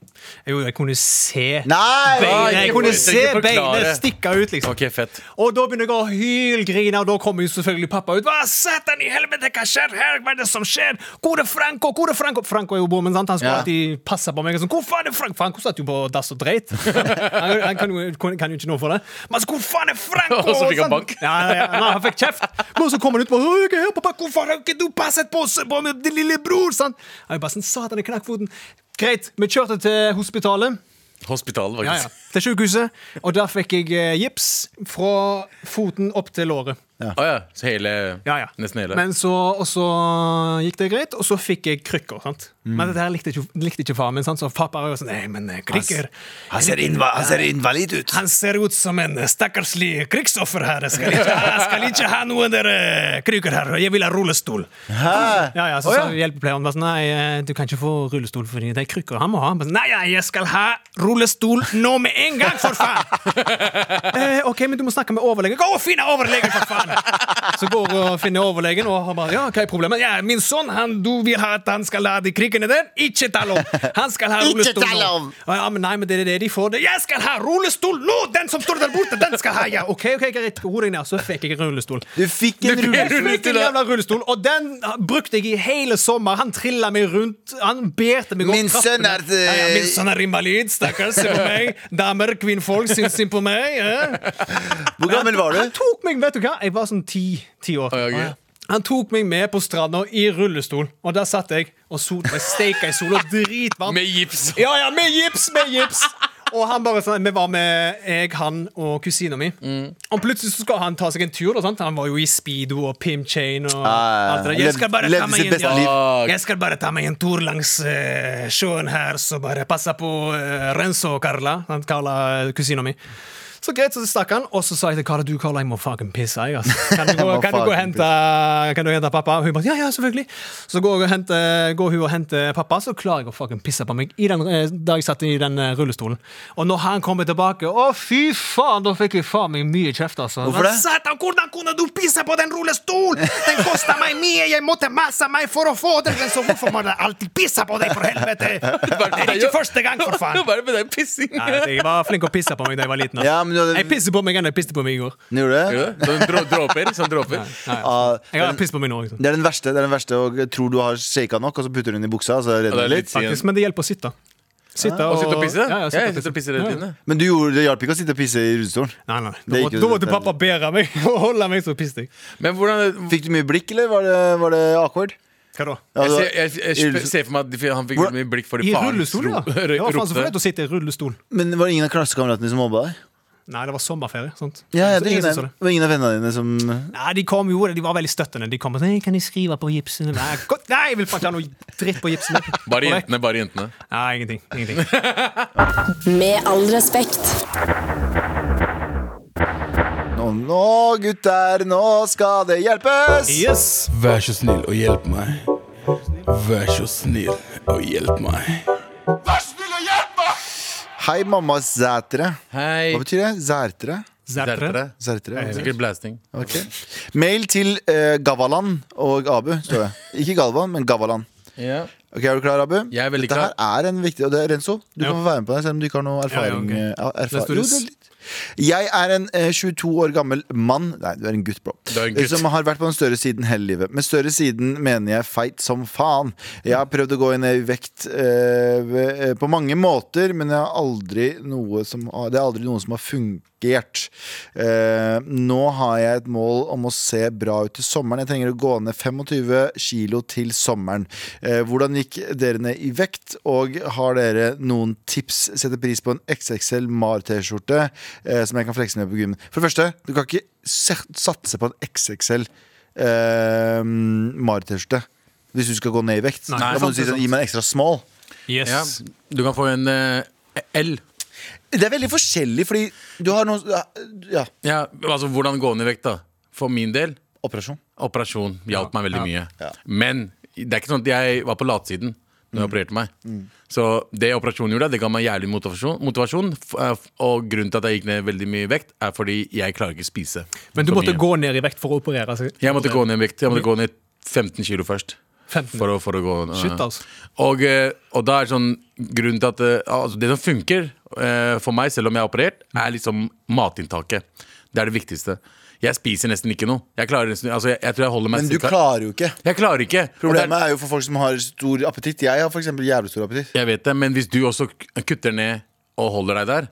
S2: Jo, jeg kunne se
S3: Nei!
S2: beinet, jeg
S4: ikke
S2: kunne
S4: for-
S2: se
S4: ikke forklare.
S2: beinet stikke ut, liksom.
S4: [LAUGHS] Ok, fett.
S2: Og da begynner jeg å hylgrine, og da kommer jo selvfølgelig pappa ut. Hva satan i helvete, hva skjer her? Hva er det som skjer? Hvor er Franco? Hvor er Franco? Franco er jo bommen, sant? Han skulle
S3: Ja.
S2: alltid passe på meg. og Sånn, hvor faen er Franco? Franco satt jo på dass og dreit. [LAUGHS] han han kan, jo, kan, kan jo ikke noe for det. Men så, hvor faen er Franco?
S4: [LAUGHS] Og så fikk
S2: sant?
S4: han bank.
S2: Ja, ja, ja. Nei, han fikk kjeft. Men så kommer han ut på «Å, jeg er her, pappa, hvorfor har ikke du passet på, oss, på min din lille bror? Sant? Han bare sånn, satan i knakkfoten. Greit, vi kjørte til hospitalet.
S4: Hospitalet,
S2: Ja, ja.
S4: faktisk.
S2: Til sykehuset. Og der fikk jeg eh, gips fra foten opp til låret.
S4: Å ja. Så hele Nesten hele.
S2: Men så, og så gikk det greit, og så fikk jeg krykker. sant?
S4: Mm.
S2: Men dette her likte ikke, likte ikke faren min, sant? så pappa var jo sånn Nei, men eh, krykker
S3: Han ser, inva han ser invalid ut.
S2: Han ser ut som en eh, stakkarslig krigsoffer her. Jeg skal ikke, jeg skal ikke ha noen der eh, krykker her. Jeg vil ha rullestol.
S3: Hæ?
S2: Ja, ja, så sa hjelpepleieren bare sånn Nei, eh, du kan ikke få rullestol fordi det er krykker han må ha. Han bare sånn, Nei, ja, jeg skal ha rullestol nå med en gang, for faen! eh, ok, men du må snakke med overlegen. Gå og finne overlegen, for faen! Så går og finner overlegen, og han bare Ja, hva er problemet? Ja, min sønn, han, du vil ha at han skal ha de krykkene der? Ikke tall om! Han
S3: [LAUGHS]
S2: skal ha rullestol
S3: tall
S2: nå.
S3: om!
S2: Ja, ja, men nei, men det er det de får. Det. Jeg skal ha rullestol nå! Den som står der borte, den skal ha! Ja, ok, ok, greit. Ro deg ned. Så fikk jeg rullestol.
S3: Du fikk en rullestol.
S2: Jeg fikk en jævla rullestol, og den brukte jeg i hele sommer. Han trilla meg rundt. Han berte meg opp
S3: Min sønn
S2: trappene.
S3: er eh, det-
S2: ja, ja, Min sønn er invalid, stakkars. Se på meg. Damer, kvinnfolk, syns synd på meg. Ja.
S3: Hvor gammel var
S2: Han
S3: du?
S2: tok meg, vet du hva? Jeg var sånn ti, ti år.
S4: Å, ja, ok.
S2: Han tok meg med på stranda i rullestol, og der satt jeg og solte meg steika i sola. Dritvarmt.
S4: Med gips.
S2: Ja, ja, med gips, med gips. Og han bare sånn, Vi var med jeg, han og kusina mi.
S3: Mm.
S2: Og plutselig så skal han ta seg en tur. Og sånt. Han var jo i speedo og pimp chain. Og
S3: ja, ja.
S2: alt det der. Jeg skal bare
S3: Levde-
S2: ta
S3: levde
S2: meg
S3: sitt
S2: en,
S3: beste liv.
S2: ja. jeg skal bare ta meg en tur langs eh, sjøen her, så bare passe på eh, Renzo og Carla. Han Carla, eh, kusina mi. Så greit, så stakk han, og så sa jeg til Carla du Carla, jeg må fucking pisse. Jeg, ass. Kan,
S3: [LAUGHS]
S2: du gå,
S3: Jeg må
S2: kan, du gå og
S3: fucking
S2: hente, eh, kan du hente pappa? Og hun bare ja, ja, selvfølgelig. Så går, jeg og henter, går hun og henter pappa, så klarer jeg å fucking pisse på meg i den, eh, da jeg satt i den eh, rullestolen. Og når han kommer tilbake, å fy faen, da fikk jeg faen meg mye kjeft. altså.
S3: Hvorfor det?
S2: Men Satan, hvordan kunne du pisse på den rullestolen?! Den kosta meg mye, jeg måtte masse meg for å få den, så hvorfor må jeg alltid pisse på deg, for helvete?! Det er ikke første gang, for faen!
S4: [LAUGHS] Hva er det med den pissingen?
S2: Nei, jeg var flink å pisse på meg da jeg var liten. ass.
S3: Ja, men du hadde-
S2: Jeg pisser på meg enn jeg pisset på meg i går.
S3: Gjorde du det?
S4: Ja, sånn drå- Dråper. Sånn dråper.
S3: Ah,
S2: Jeg har pisset på meg nå, liksom.
S3: det er den verste, det er den verste og tror du har shaka nok, og så putter du den i buksa. Og så
S4: det
S3: redder
S4: er
S3: det
S4: litt
S3: litt
S4: siden.
S2: Faktisk, men det hjelper å sitte. Sitte
S4: Og sitte og pisse?
S2: Ja, ja, sitte
S4: jeg sitter og pisser hele
S2: Ja, ja.
S4: tiden. jeg.
S3: Men du gjorde, det hjalp ikke å sitte og pisse i rullestolen?
S2: Nei, nei, nei. Da,
S3: Det gikk
S2: måtte,
S3: jo
S2: da måtte
S3: til-
S2: pappa bære meg [LAUGHS] og holde meg, så pisset jeg.
S4: Men hvordan
S3: Fikk du mye blikk, eller var det, var det awkward? Altså,
S2: Hva da?
S3: Ja,
S4: Jeg
S3: det
S4: ser,
S3: var-
S4: jeg, jeg,
S3: i
S4: jeg
S3: rullestol.
S4: ser for meg at de- han fikk
S3: Hvor-
S4: mye blikk fordi
S2: I
S4: faren
S2: rullestol, ja.
S4: ro-
S2: Det
S4: [LAUGHS]
S2: var faen så flaut
S4: ropte.
S2: å sitte i rullestol.
S3: Men var det ingen av klassekameratene som mobba deg?
S2: Nei, det var sommerferie. sant?
S3: Ja, ja,
S2: Så
S3: det er
S2: ingen
S3: ingen,
S2: som så
S3: av- det var ingen av vennene dine som
S2: Nei, De kom jo, de var veldig støttende. De kom og sa «Nei, 'Kan jeg skrive på gipsen?' Nei, gå- nei jeg vil faen ikke ha noe dritt på gipsen.
S4: Bare jentene, bare jentene.
S2: Nei, ingenting. ingenting.
S6: Med all respekt.
S3: Nå, nå gutter, nå skal det hjelpes!
S2: Yes!
S8: Vær så snill og hjelp meg. Vær så snill og hjelp meg.
S3: Hei, mamma sætere.
S4: Hei.
S3: Hva betyr det? altså. Sætere?
S2: Zertere.
S3: Sætere? hva betyr det?
S4: Sikkert blasting.
S3: Ok. Mail til eh, Gavalan og Abu, står det. Ikke Galvan, men Gavalan.
S4: Ja.
S3: Ok, Er du klar, Abu?
S4: Jeg er veldig
S3: Dette
S4: klar.
S3: her er en viktig Og det er Renzo, du
S2: Ja.
S3: kan få være med på det, selv om du ikke har noe erfaring.
S2: Ja, ja,
S3: eh, erfa-
S2: Det står
S3: Jo,
S2: det
S3: det er
S2: s-
S3: litt. Jeg er en eh, 22 år gammel mann Nei, du er en gutt, bro.
S4: Du er en gutt.
S3: Som har vært på den større siden hele livet. Med større siden mener jeg feit som faen. Jeg har prøvd å gå ned i vekt eh, ved- eh, på mange måter, men jeg har aldri noe som har, det er aldri noe som har fungert. Eh, nå har jeg et mål om å se bra ut til sommeren. Jeg trenger å gå ned 25 kilo til sommeren. Eh, hvordan gikk dere ned i vekt, og har dere noen tips? Setter pris på en XXL Mar-T-skjorte eh, som jeg kan flekse med på gymmen. For det første, du kan ikke se- satse på en XXL eh, Mar-T-skjorte hvis du skal gå ned i vekt.
S2: Nei,
S3: da må
S2: sant,
S3: du si
S2: det er
S3: sånn,
S2: sant.
S3: gi meg en ekstra small.
S2: Yes.
S4: Ja. Du kan få en eh, L.
S3: Det er veldig forskjellig, fordi du har noe Ja,
S4: Ja, altså Hvordan gå ned i vekt, da? For min del,
S3: operasjon.
S4: operasjon hjalp meg veldig mye. Men det er ikke sånn at jeg var på latsiden når
S2: Mm.
S4: jeg opererte meg. Så det operasjonen gjorde, det ga meg jævlig motivasjon. motivasjon f- eh, f- og grunnen til at jeg gikk ned veldig mye i vekt, er fordi jeg klarer ikke å spise.
S2: Men du
S4: for
S2: måtte
S4: mye.
S2: gå ned i vekt for å operere? Altså.
S4: Jeg måtte gå ned i vekt. Jeg måtte gå ned 15 kilo først.
S2: 15.
S4: For å, for å gå
S2: Shit, altså.
S4: og, eh, og da er sånn grunnen til at eh, altså, Det som funker eh, for meg, selv om jeg er operert, er liksom matinntaket. Det er det viktigste. Jeg spiser nesten ikke noe. Jeg klarer nesten, altså, jeg, jeg tror jeg holder meg
S3: Men du
S4: cirka-
S3: klarer jo ikke.
S4: Jeg klarer ikke. Og
S3: Problemet
S4: det
S3: er jo for folk som har stor appetitt. Jeg har for eksempel jævlig stor appetitt.
S4: er, jeg vet det, men hvis du også k- kutter ned og holder deg der,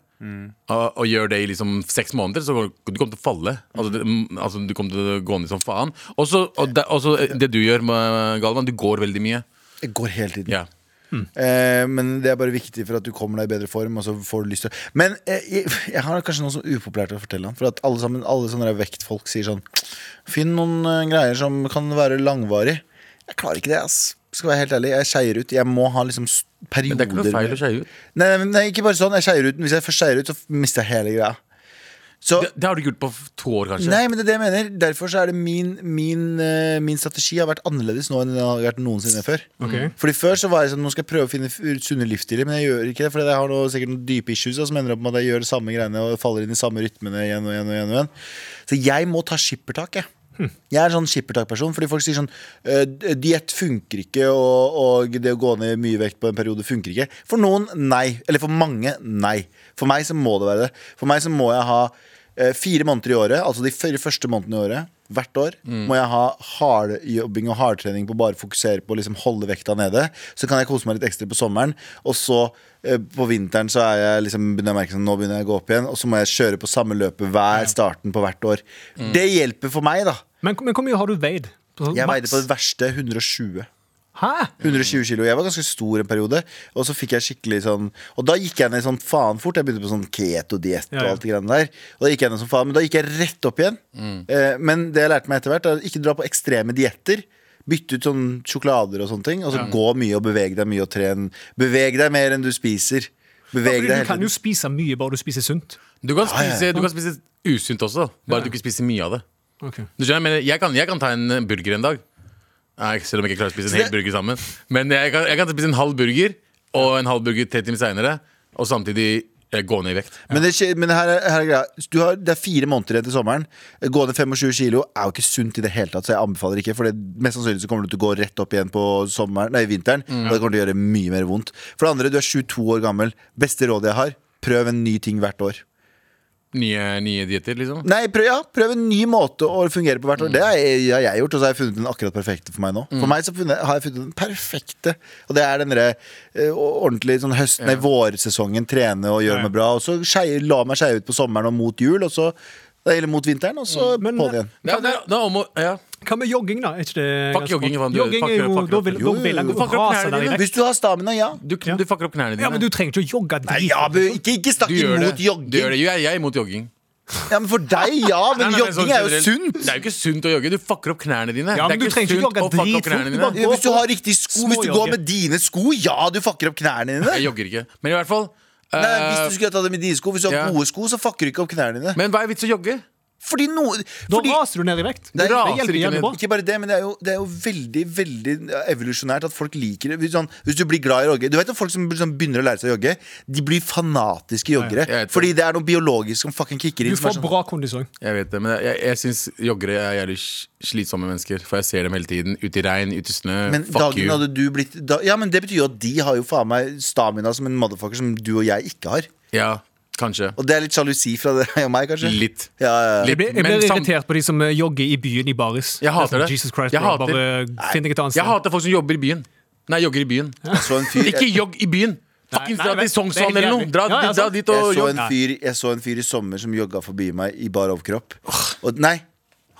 S4: og, og gjør det i liksom seks måneder, så kommer du kommer til å falle. Altså, det, mm, altså Du kommer til å gå ned som faen. Og så og det, og så det du gjør, med Galvan, du går veldig mye.
S3: Jeg går hele tiden.
S4: Ja.
S3: Eh, men det er bare viktig for at du kommer deg i bedre form. Og så får du lyst til Men eh, jeg, jeg har kanskje noe som er upopulært å fortelle han. For at alle, sammen, alle sånne der vektfolk sier sånn Finn noen eh, greier som kan være langvarig. Jeg klarer ikke det, ass. Skal være helt ærlig. Jeg skeier ut. Jeg må ha liksom s- perioder
S4: Men det er ikke noe feil å
S3: med-
S4: skeie ut.
S3: Nei, nei, nei, ikke bare sånn. Jeg skeier ut. Hvis jeg først skeier ut, så f- mister jeg hele greia. Så
S4: Det, det har du ikke gjort på f- to år, kanskje.
S3: Nei, men det er det jeg mener. Derfor så er det min, min, eh, min strategi har vært annerledes nå enn den har vært noensinne før. Mm.
S2: Ok.
S3: Fordi Før så var jeg sånn, nå skal jeg prøve å finne f- sunne livsstiler, men jeg gjør ikke det. Fordi jeg har noe, sikkert noen dype issues da, som ender opp med at jeg gjør det samme greiene og faller inn i samme rytmene igjen og igjen. og igjen, og igjen. Så jeg må ta skippertak, jeg. Jeg er en sånn skippertak-person, fordi folk sier sånn eh, d- Diett funker ikke, og, og det å gå ned mye vekt på en periode funker ikke. For noen, nei. Eller for mange, nei. For meg så må det være det. For meg så må jeg ha Eh, Fire måneder i året, altså de fire første månedene i året Hvert år må jeg ha hardjobbing og hardtrening på å bare fokusere på å liksom holde vekta nede. Så kan jeg kose meg litt ekstra på sommeren. Og så eh, på vinteren så er jeg liksom, begynner jeg å merke sånn, nå begynner jeg å gå opp igjen. Og så må jeg kjøre på samme løpet hver starten på hvert år. Det hjelper for meg, da.
S2: Men, men hvor mye har du veid?
S3: Jeg veide på det verste 120.
S2: Hæ?
S3: 120 kilo. Jeg var ganske stor en periode. Og så fikk jeg skikkelig sånn Og da gikk jeg ned sånn faen fort. Jeg begynte på sånn keto-diett
S2: Ja,
S3: og
S2: ja.
S3: alt det greiene der. Og da gikk jeg ned som faen, men da gikk jeg rett opp igjen. Eh, men det jeg lærte meg etter hvert, er at ikke dra på ekstreme dietter. Bytte ut sånn sjokolader og sånne ting. Og så gå mye og bevege deg mye og tren. Beveg deg mer enn du spiser. Beveg
S2: Fordi
S3: deg
S2: du
S3: hele
S2: kan jo
S3: tiden.
S2: spise mye, bare du spiser sunt.
S4: Du kan spise, du kan spise usunt også, bare at du ikke spiser mye av det. Du skjønner, men jeg kan, jeg kan ta en burger en dag. Nei, selv om jeg ikke klarer å spise en hel burger sammen. Men jeg kan, jeg kan spise en halv burger og en halv burger tre timer seinere, og samtidig eh, gå ned i vekt.
S3: Men, det, skje- men her, er- her er greia. Du har, det er fire måneder igjen til sommeren. Gå ned 25 kilo er jo ikke sunt i det hele tatt, så jeg anbefaler ikke. For det, mest sannsynlig så kommer du til å gå rett opp igjen på sommeren, nei, vinteren, og det kommer til å gjøre mye mer vondt. For det andre, du er 22 år gammel. Beste rådet jeg har, prøv en ny ting hvert år.
S4: Nye, nye dietter, liksom.
S3: Nei, prøv, ja, prøv en ny måte å fungere på
S4: Mm.
S3: hvert år. Det har jeg, har jeg gjort, og så har jeg funnet den akkurat perfekte for meg nå. For meg så funnet, har jeg funnet den perfekte, og det er den derre eh, ordentlig sånn høsten, nei, vårsesongen, trene og gjøre meg bra, og så skei, la meg skeie ut på sommeren og mot jul, og så eller mot vinteren, og så
S4: Mm,
S2: Men-
S3: på det igjen.
S4: Ja, det, er- det er om å ja.
S2: Hva med jogging, da? Er ikke det
S4: Fuck jogging, faen, du-
S2: Jogging
S4: fuck-
S2: er jo
S4: fuck-
S2: Da vil, da
S3: Jo,
S2: vil han
S3: jo,
S2: gå
S4: fuck opp
S2: fra seg
S4: knærne
S2: der
S4: dine.
S2: i vekt.
S3: Hvis du har stamina, ja.
S4: du, du fucker opp knærne dine.
S2: Ja, men du trenger ikke å jogge drit. liksom.
S3: Nei, ja, men ikke, ikke snakk
S4: Du gjør
S3: imot
S4: det. Du gjør
S3: jogging.
S4: det. Jo, Jeg jeg er imot jogging.
S3: Ja, men for deg, ja. Men
S4: [LAUGHS] Nei, nei, men sånn
S3: jogging er jo
S4: generelt-
S3: sunt.
S4: Det er jo ikke sunt å jogge. Du fucker opp knærne dine.
S2: Ja, men du
S4: det er
S2: trenger ikke
S4: sunt
S2: jogge
S4: å fucke opp
S2: dritfort,
S4: knærne
S2: du
S4: dine.
S2: bare
S3: Hvis du har riktig sko, hvis du
S2: Småjogge.
S3: går med dine sko, ja, du fucker opp knærne dine.
S4: Jeg jogger ikke. Men i hvert fall
S3: Nei,
S4: eh,
S3: hvis du skulle tatt dem i dine sko, hvis du har
S4: ja.
S3: gode sko, så fucker du ikke opp knærne dine.
S4: Men hva er vits å jogge?
S3: Fordi noe
S2: Da
S3: fordi,
S2: raser du ned i vekt.
S4: Du
S2: Det
S4: raser
S2: hjelper
S4: ikke
S2: jævlig
S4: ned.
S2: bra.
S3: Ikke bare det, men det er, jo, det er jo veldig veldig evolusjonært at folk liker det. Hvis, sånn, hvis du blir glad i å jogge Du vet at folk som liksom begynner å lære seg å jogge, de blir fanatiske joggere.
S4: jeg vet det.
S3: fordi det er noe biologisk som fucking kicker inn.
S2: Du
S3: som er
S2: får
S3: sånn-
S2: bra kondis òg.
S4: Jeg vet det, men jeg, jeg syns joggere er jævlig sl- slitsomme mennesker. For jeg ser dem hele tiden. Ute i regn, ute i snø.
S3: sånn, Men
S4: Fuck
S3: dagen
S4: you.
S3: hadde du blitt da, Ja, men det betyr jo at de har jo faen meg stamina som en motherfucker som du og jeg ikke har.
S4: Ja, kanskje.
S3: Og det er litt sjalusi fra deg og meg, kanskje.
S4: Litt.
S3: Ja, ja, ja.
S2: Jeg blir, jeg
S4: Men
S2: blir
S4: sam-
S2: irritert på de som eh, jogger i byen i baris.
S4: Jeg hater det.
S2: Jesus Christ,
S4: Jeg
S2: bro,
S4: hater-
S2: bare finn deg et annet
S4: Jeg hater folk som jobber i byen. Nei, jogger i byen.
S3: Jeg så en fyr
S4: [LAUGHS] Ikke jogg i byen! Fuckings
S2: nei,
S4: dra
S2: vet-
S4: til Sognsvann
S2: det er
S4: eller
S2: helt
S4: noe! Dra,
S2: jævlig. Ja, ja,
S4: dra
S2: sant.
S4: dit og
S3: Jeg så,
S4: jogg.
S3: en fyr, jeg så en fyr i sommer som jogga forbi meg i bar overkropp. Og nei,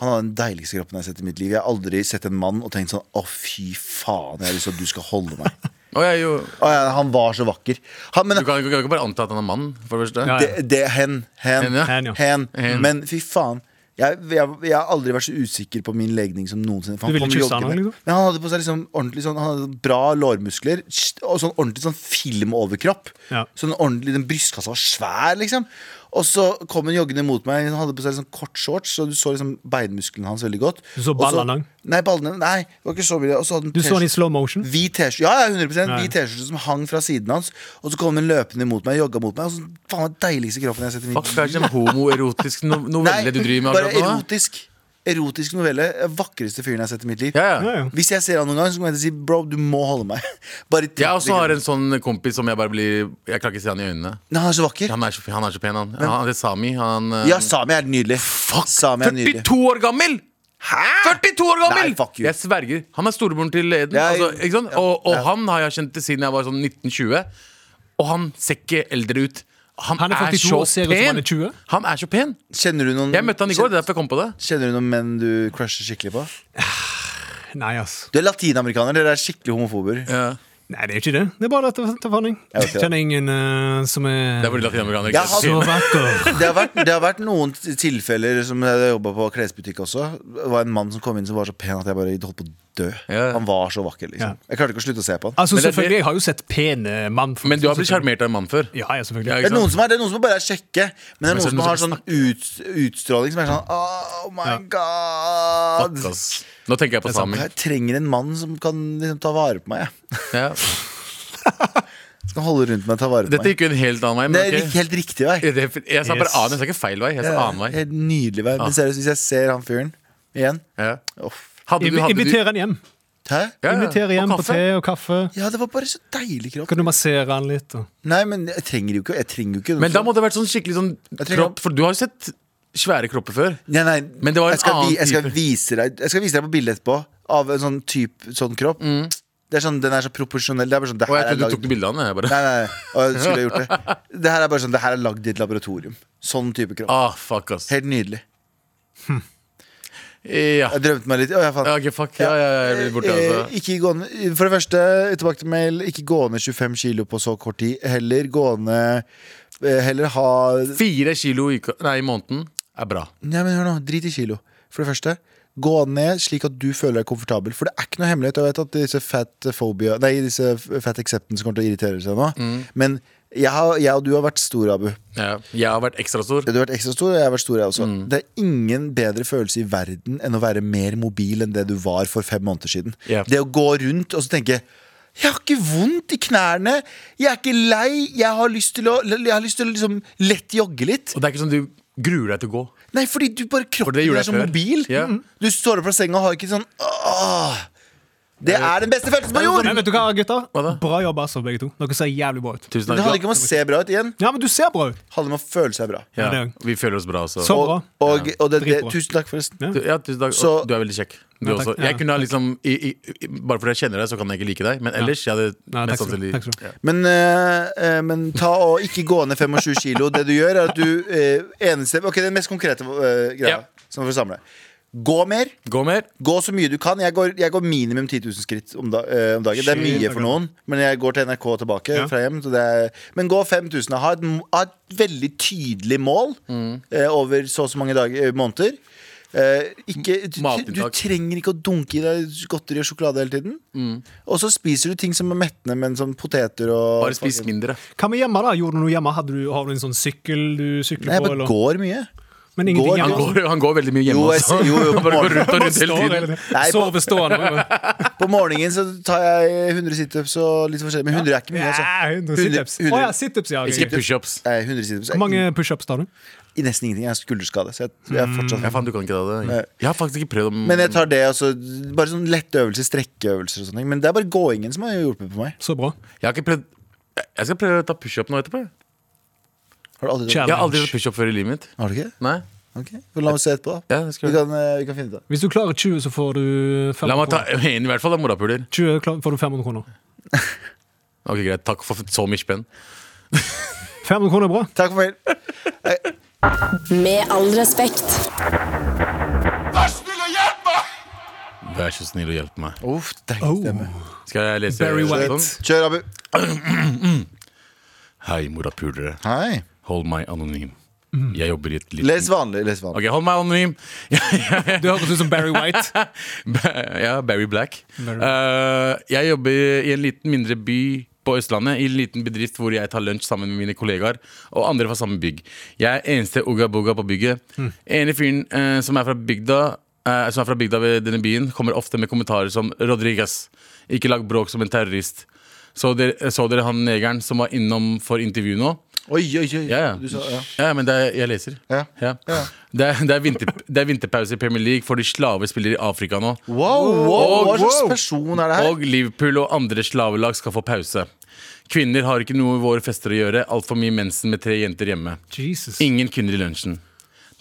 S3: han hadde den deiligste kroppen jeg har sett i mitt liv. Jeg har aldri sett en mann og tenkt sånn Å, fy faen, jeg har lyst til at du skal holde
S4: [LAUGHS]
S3: meg.
S4: Å, jeg er jo,
S3: Å, ja, han var så vakker. Han, men
S4: du kan, du kan ikke bare anta at han er mann, for det første.
S2: Ja, ja.
S3: det, det hen, hen,
S4: Hen, ja.
S2: Hen, ja.
S3: hen.
S4: Hen.
S3: Men fy faen. Jeg, jeg, jeg har aldri vært så usikker på min legning som noensinne. for
S2: Du ville
S3: kom
S2: kysse han,
S3: joggende.
S2: liksom?
S3: Men han hadde på seg liksom ordentlig sånn Han hadde bra lårmuskler st- og sånn ordentlig sånn filmoverkropp.
S2: Ja.
S3: Sånn ordentlig, Den brystkassa var svær, liksom. Og så kom hun joggende mot meg. Hun hadde på seg liksom kort shorts, så du så liksom beinmusklene hans veldig godt.
S2: Du så
S3: Og
S2: ballene lang?
S3: Nei, ballene Nei, det var ikke så mye. Og så hadde hun
S2: Du så den i
S3: t-skjorte-
S2: slow motion?
S3: Hvit T-skjorte Ja, ja, 100
S2: Nei.
S3: Hvit T-skjorte som hang fra siden hans. Og så kom hun løpende mot meg, jogga mot meg. Og så, faen, den deiligste kroppen jeg har sett i mitt
S4: Fuck, det er ikke en homoerotisk no novelle du driver med
S3: bare
S4: akkurat nå. da.
S3: erotisk. Erotisk novelle. Vakreste fyren jeg har sett i mitt liv.
S4: Ja,
S2: Ja,
S4: ja.
S2: ja.
S3: Hvis jeg ser han noen gang, så kommer jeg til å si bro, du må holde meg. [LAUGHS] Bare
S4: Jeg også har en sånn kompis som jeg bare blir Jeg klarer ikke å se han i øynene.
S3: Nei, han er så vakker.
S4: Han er så, han er så pen, han. Han heter Sami. Han eh,
S3: Ja, Sami er nydelig. Fuck, Sami er nydelig.
S4: 42 år gammel!
S3: Hæ?
S4: 42 år gammel!
S3: Nei, fuck you.
S4: Jeg sverger. Han er storebroren til Eden.
S3: Ja,
S4: altså, ikke sant?
S3: ja,
S4: og og
S3: ja.
S4: han har jeg kjent til siden jeg var sånn 1920. Og han ser ikke eldre ut. Han,
S2: Han er 42
S4: så
S2: og ser ut som
S4: pen.
S2: han er 20.
S4: Han er så pen.
S3: Kjenner du noen
S4: Jeg møtte han i går. Det er derfor jeg kom på det.
S3: Kjenner du noen menn du crusher skikkelig på?
S2: Nei, ass.
S3: Du er latinamerikaner, dere er skikkelig homofober.
S4: Ja.
S2: Nei, det er jo ikke det. Det er bare at det er forhandling.
S3: Jeg vet ikke.
S2: Kjenner ingen eh, som er
S4: Det er fordi latinamerikanere
S3: Jeg
S4: ikke
S3: har-
S4: ser
S2: så
S4: pene.
S2: vakker.
S3: [LAUGHS] Det har, vært, det har vært noen t- tilfeller som jeg jobba på klesbutikk også. Det var en mann som kom inn som var så pen at jeg bare holdt på å dø.
S4: Ja.
S3: Han var så vakker,
S2: Ja.
S3: liksom. Jeg klarte ikke å slutte å se på han.
S2: Altså,
S4: Men det er
S2: selvfølgelig,
S4: det-
S2: jeg har jo sett pene mannfolk.
S4: Men du har blitt sjarmert av en mann før.
S2: Ja, ja,
S4: Ja,
S2: selvfølgelig.
S3: Det
S4: ikke
S3: er,
S4: sant?
S3: noen som er, det er noen som bare er kjekke, men det er
S4: Men så
S3: noen
S4: er det
S3: som har sånn
S4: noen
S3: ut, utstråling som er sånn Oh my
S2: Ja.
S3: god!
S4: Fuck, altså, ass. Nå tenker jeg på Sami.
S3: Jeg trenger en mann som kan liksom, ta vare på meg. jeg.
S4: Ja.
S3: Som kan holde rundt meg og ta vare på
S4: Dette
S3: meg.
S4: gikk jo en helt annen vei.
S3: Det
S4: Men
S3: er
S4: ok.
S3: helt riktig vei.
S4: Jeg jeg sa bare
S2: Yes.
S4: annen, jeg sa ikke feil vei. Jeg sa annen vei. Ah.
S3: Helt nydelig vei. Men seriøst, hvis jeg ser han fyren igjen
S4: Ja.
S3: Åh,
S4: Hadde du,
S2: Invi-
S4: hadde du,
S2: Inviter han hjem.
S3: Hæ?
S4: Ja, ja.
S2: Inviter hjem
S4: Og
S2: på
S4: kaffe.
S2: te og kaffe.
S3: Ja, det var bare så deilig kropp.
S2: Kan du massere han litt? Og...
S3: Nei, men jeg trenger jo ikke Jeg trenger jo ikke
S4: Men da må det ha vært sånn skikkelig sånn
S3: trenger-
S4: kropp For du har jo sett svære kropper før.
S3: sånn- Nei, nei,
S4: Men det var en
S3: jeg skal,
S4: annen
S3: vi, jeg, skal
S4: type.
S3: vise deg, jeg skal vise deg på bildet etterpå av en sånn type sånn kropp. Det er sånn, Den er så proporsjonell. Det er bare sånn, det
S4: Og Mm. jeg
S3: her er
S4: trodde du
S3: laget-
S4: tok bilde av den. Jeg bare
S3: Nei, nei, og jeg skulle ha gjort det.
S4: [LAUGHS]
S3: Det her er bare sånn, det her er lagd i et laboratorium. Sånn type kropp.
S4: Ah, fuck ass
S3: Helt nydelig.
S4: Ja.
S3: Jeg drømte meg litt. Å, jeg fant
S4: Ja, ok, fuck. Ja, ja, ja, jeg blir borte,
S3: Eh,
S4: altså.
S3: Ikke gående, for det første, tilbake til mail, ikke gå ned 25 kilo på så kort tid. Heller gå ned eh, Heller ha
S4: Fire kilo i, uka- nei, i måneden er bra.
S3: Nei, men hør nå, drit i kilo. For det første, gå ned slik at du føler deg komfortabel. For det er ikke noe hemmelighet. Jeg vet at disse fat phobia Nei, disse fat acceptance kommer til å irritere seg nå. Men jeg, har, jeg og du har vært store, Abu.
S4: Ja. Jeg har vært ekstra stor.
S3: Du har vært ekstra stor, og jeg har vært stor, jeg også. Det er ingen bedre følelse i verden enn å være mer mobil enn det du var for fem måneder siden.
S4: Ja.
S3: Det å gå rundt og så tenke jeg har ikke vondt i knærne, jeg er ikke lei, jeg har lyst til å, jeg har lyst til å liksom lett jogge litt.
S4: Og det er ikke sånn du gruer deg til å gå.
S3: Nei, fordi du bare kroppen
S4: det
S3: din
S4: gjorde
S3: er
S4: jeg
S3: så
S4: før.
S3: mobil.
S4: Ja.
S3: Mm. Du står opp fra senga og har ikke sånn åh. Det er den beste følelsen på jord!
S2: Men vet du hva, gutter?
S4: Hva da?
S2: Bra jobb, altså, begge to. Dere ser jævlig bra ut.
S4: Tusen
S3: Det handler
S4: takk.
S3: ikke om å se bra ut igjen,
S2: Ja, men du ser bra ut.
S3: det handler om å føle seg bra.
S4: Ja,
S2: Ja, det
S4: vi føler oss bra også.
S2: Så
S3: Og,
S2: bra.
S3: og, og det, det,
S2: Dritbra.
S3: tusen takk, forresten.
S4: Du, ja, tusen takk.
S3: Så-
S4: du er veldig kjekk. Du
S2: Ja, takk.
S4: også.
S2: Ja,
S4: Jeg kunne ha liksom i, i, i, Bare fordi jeg kjenner deg, så kan jeg ikke like deg. Men ellers jeg hadde
S2: Nei, takk
S4: mest
S2: skal du
S4: sannsynlig
S2: ha. Takk skal du ha.
S3: Men, eh, eh, men ta og ikke gå ned 25 kilo. Det du gjør, er at du eh, eneste, Ok, den mest konkrete eh, greia.
S4: Ja.
S3: Som for å samle. Gå mer.
S4: Gå mer.
S3: Gå så mye du kan. Jeg går, jeg går minimum 10 000 skritt om, da, eh, om dagen. Det er mye for noen, men jeg går til NRK tilbake
S2: Ja.
S3: fra hjem. Så det er, men gå 5000. Ha et, m- ha et veldig tydelig mål
S2: Mm.
S3: eh, over så og så mange dager, eh, måneder. Eh, ikke, du, du
S4: Matinntak.
S3: trenger ikke å dunke i deg godteri og sjokolade hele tiden.
S2: Mm.
S3: Og så spiser du ting som er mettende, men som poteter og
S4: Bare spis mindre.
S2: Hva med hjemme, da? Gjorde du noe hjemme? Hadde du, har du en sånn sykkel du
S3: Nei,
S2: sykler
S3: jeg
S2: på?
S3: bare
S2: eller?
S3: går mye.
S2: Men ingenting
S3: går-
S4: Han
S2: hjemme?
S4: går, han går veldig mye hjemme
S3: Jo, jeg
S4: også.
S3: ser- jo,
S4: [LAUGHS]
S3: jo, på
S4: Bare går
S3: morgenen.
S4: rundt og rundt hele
S2: Står
S4: tiden.
S2: hele tiden.
S3: Nei, på-
S2: Sover
S3: [LAUGHS]
S2: stående.
S3: På morgenen så tar jeg 100 situps og litt forskjellig. Men 100 er ikke mye, altså.
S2: Ja, 100
S3: Hundre-
S2: situps. Å
S3: hundre-
S2: ja, situps, ja. ok.
S4: Ikke pushups.
S3: Nei, 100 situps er
S2: Hvor mange pushups tar du?
S3: i- i nesten ingenting. Jeg har skulderskade. Så jeg, jeg er fortsatt
S4: Ja, faen, du kan ikke ta det. Jeg har faktisk ikke prøvd om
S3: Men jeg tar det, altså. Bare sånn lette øvelser, strekkeøvelser og sånne ting. Men det er bare gåingen som har hjulpet på meg.
S2: Så bra.
S4: Jeg har ikke prøvd Jeg- Jeg skal prøve å ta pushup nå etterpå.
S3: Har du aldri
S2: Challenge.
S3: det?
S4: Jeg har aldri tatt pushup før i livet mitt.
S3: Har du ikke det?
S4: Nei
S3: Ok. Så La meg se etterpå, da.
S4: ja, det
S3: Vi
S4: skal jeg.
S3: kan, eh, vi kan finne ut av det.
S2: Hvis du klarer 20, så får du 500
S4: La meg ta
S2: kroner.
S4: en [LAUGHS] i hvert fall, da, morapuler.
S2: 20 klar- får du 500 kroner.
S4: Ok, greit. Takk for så mye spenn.
S2: 500 kroner er
S4: [LAUGHS]
S2: bra.
S3: Takk for mail.
S6: Med all respekt.
S4: Vær så snill å hjelpe meg.
S3: Uff, deilig stemme.
S4: Skal jeg lese
S2: Barry White.
S4: Oh. sånn?
S3: Kjør, Abu.
S4: Hei, morapulere.
S3: Hei.
S4: Hold meg anonym. Jeg jobber i et lite
S3: Les vanlig. Les vanlig.
S4: Ok, hold meg anonym.
S2: Du høres ut som Barry White.
S4: [LAUGHS] ja, Barry Black.
S2: Barry
S4: Eh, jeg jobber i en liten mindre by på Østlandet, i en liten bedrift hvor jeg tar lunsj sammen med mine kollegaer og andre fra samme bygg. Jeg er eneste ugga-bugga på bygget. Ene fyren eh, som er fra bygda eh, Som er fra bygda ved denne byen, kommer ofte med kommentarer som 'Rodriguez, ikke lag bråk som en terrorist'. Så dere, så dere han negeren som var innom for intervju nå?
S3: Oi, oi, oi.
S4: Ja, ja.
S3: Du sa, ja.
S4: ja. men det er, jeg leser.
S3: Ja.
S4: Det, er, det, er vinter, det er vinterpause i Premier League, for de slaver spiller i Afrika nå.
S3: Wow, wow, hva slags
S4: wow.
S3: person er det her?
S4: Og Liverpool og andre slavelag skal få pause. Kvinner har ikke noe i våre fester å gjøre. Altfor mye mensen med tre jenter hjemme.
S2: Jesus.
S4: Ingen kvinner i lunsjen.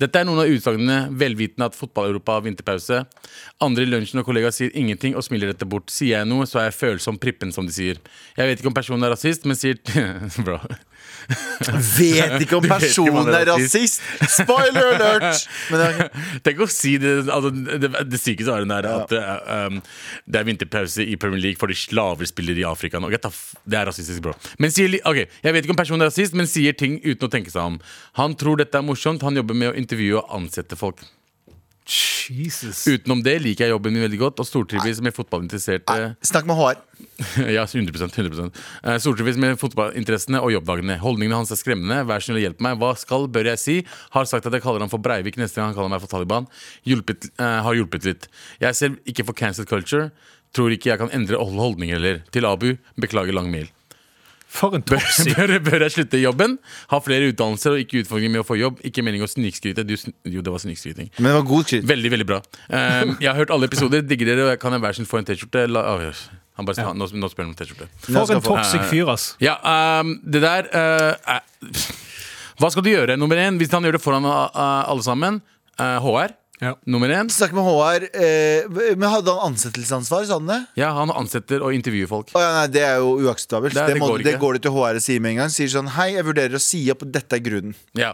S4: Dette er noen av utsagnene, velvitende at fotball-Europa har vinterpause. Andre i lunsjen og kollegaer sier ingenting og smiler dette bort. Sier jeg noe, så er jeg følsom prippen, som de sier. Jeg vet ikke om personen er rasist, men sier [LAUGHS] Bra.
S3: Vet ikke om
S4: [LAUGHS] Du vet ikke om han
S3: personen
S4: er
S3: er rasist. Spoiler
S4: [LAUGHS]
S3: alert! Men det er-
S4: Tenk å si det altså, Det, det sykeste er den der at eh, um, det er vinterpause i Premier League fordi slaver spiller i Afrika nå. Get the f- Det er rasistisk, bro. Men sier, li- ok, Jeg vet ikke om personen er rasist, men sier ting uten å tenke seg om. Han tror dette er morsomt. Han jobber med å intervjue og ansette folk.
S2: Jesus.
S4: Utenom det liker jeg jobben min veldig godt og stortrives med fotballinteresserte
S3: Snakk med HR.
S4: [LAUGHS] Ja, 100%, 100%. Eh, Stortrives med fotballinteressene og jobbdagene. Holdningene hans er skremmende. Vær snill og hjelp meg. Hva skal, bør jeg si? Har sagt at jeg kaller han for Breivik neste gang han kaller meg for Taliban. Hjulpet, eh, har hjulpet litt. Jeg er selv ikke for cancel culture. Tror ikke jeg kan endre hold- holdninger heller. Til Abu, beklager lang mail.
S2: For en
S4: Bør,
S2: toxic.
S4: bør, bør jeg slutte i jobben? Ha flere utdannelser og ikke utfordringer med å få jobb. Ikke mening å snikskryte. Du, sn- jo, det var snikskryting.
S3: Men det var god skritt.
S4: Veldig, veldig bra. Um, jeg har hørt alle episoder. Digger dere. og jeg Kan jeg hver sin få en T-skjorte? La- Åh, Han bare, han, nå, nå spør han om T-skjorte.
S2: For en
S3: få-
S2: toxic fyr, ass.
S4: Ja, um, det der eh, er- Hva skal du gjøre, nummer én? Hvis han gjør det foran eh, alle sammen. eh, HR,
S2: Ja.
S4: nummer én.
S3: Snakk med HR. Eh, men hadde han ansettelsesansvar, sa han det?
S4: Ja, han ansetter og intervjuer folk.
S3: Å ja, nei, det er jo uakseptabelt.
S4: Nei,
S3: Det,
S4: det
S3: må,
S4: går
S3: det,
S4: ikke.
S3: går det til HR og sier med en gang. Sier sånn Hei, jeg vurderer å si opp. Dette er grunnen.
S4: Ja.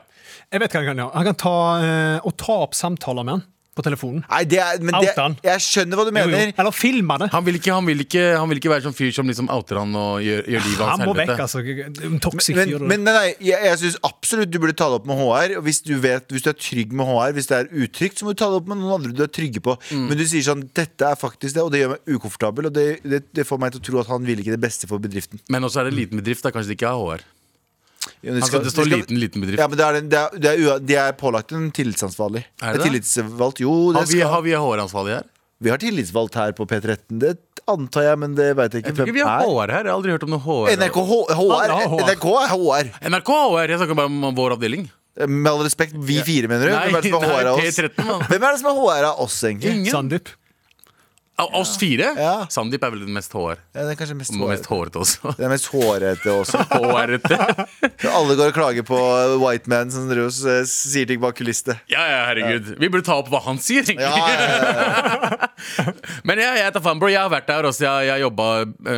S2: Jeg vet hva han kan gjøre. Han kan ta eh, og ta opp samtaler med han. på telefonen.
S3: Nei, det er, men det,
S2: Outa han.
S3: jeg skjønner hva du
S2: Jo, jo.
S3: mener.
S2: Eller filma det.
S4: Han vil, ikke, han, vil ikke, han vil ikke være sånn fyr som liksom outer han og gjør, gjør livet hans
S2: Han må vekk,
S4: helvete.
S2: altså. En Toxic
S3: Men,
S2: fyr.
S3: men nei, nei, jeg, jeg syns absolutt du burde ta det opp med HR. Og hvis, du vet, hvis du er trygg med HR, hvis det er utrygt, så må du ta det opp med noen andre du er trygge på.
S4: Mm.
S3: Men du sier sånn 'dette er faktisk det', og det gjør meg ukomfortabel. Og det, det, det får meg til å tro at han vil ikke det beste for bedriften.
S4: Men også er det en liten bedrift. Da kanskje det ikke er HR.
S3: Jo,
S4: Han skal, det står liten, liten bedrift.
S3: Ja, men det er, det er, det er, ua- de er pålagt en tillitsansvarlig.
S4: Er det
S3: Det er
S4: det?
S3: tillitsvalgt, jo, det
S4: Har vi,
S3: skal-
S4: har vi HR-ansvarlig her?
S3: Vi har tillitsvalgt her på P13, det antar jeg, men det veit jeg ikke.
S4: Jeg tror ikke vi har HR her. Jeg har aldri hørt om noe HR.
S3: er. NRK, H- HR,
S2: Alle har HR.
S3: NRK er HR.
S4: NRK HR. Jeg snakker bare om vår avdeling.
S3: Med all respekt, vi fire, mener du?
S4: Nei,
S3: Hvem er det som er
S4: nei,
S3: HR av oss?
S4: P13, mann.
S3: Hvem er det som er HR av oss, egentlig?
S4: Ingen.
S2: Sandeep.
S4: Av oss fire?
S3: Ja.
S4: Sandeep er vel den mest HR.
S3: Ja, det er kanskje mest
S4: Og mest
S3: HR.
S4: hårete også. [LAUGHS]
S3: Det er mest hårete også.
S4: HR-ete.
S3: Alle går og klager på White Man som driver og s- sier ting bak kulissene.
S4: Ja, ja, herregud. Vi burde ta opp hva han sier. egentlig.
S3: Ja, ja, ja.
S4: [LAUGHS] Men jeg, jeg tar faen, bro. Jeg har vært der også. Jeg har jobba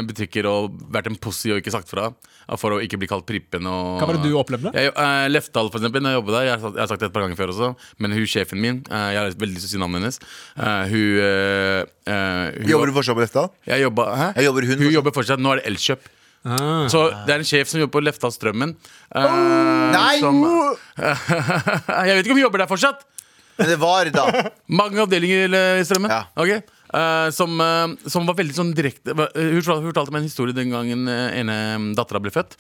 S4: butikker og vært en pussy og ikke sagt fra. eh, For å ikke bli kalt prippen og
S2: Hva var det du opplevde?
S4: Jeg, eh, Lefdal, for eksempel. Når jeg jobbet der, jeg har, sagt, jeg har sagt det et par ganger før også, men hun sjefen min eh, Jeg har veldig lyst til å si navnet hennes. Eh, hun, eh, eh, hun
S3: Jobber du fortsatt med dette?
S4: Jeg jobba, hæ?
S3: Jeg jobber hun
S4: hun
S3: fortsatt.
S4: jobber fortsatt. Nå er det Elkjøp.
S2: Ah.
S4: Så det er en sjef som jobber på Lefdal Strømmen. eh,
S3: Nei!
S4: Som, [LAUGHS] jeg vet ikke om hun jobber der fortsatt.
S3: Men det var da.
S4: Mange avdelinger eh, i strømmen
S3: Ja.
S4: Ok. Eh, som, eh, som var veldig sånn direkte hva- eh, Hun fortalte- hun fortalte meg en historie den gangen eh, ene dattera ble født.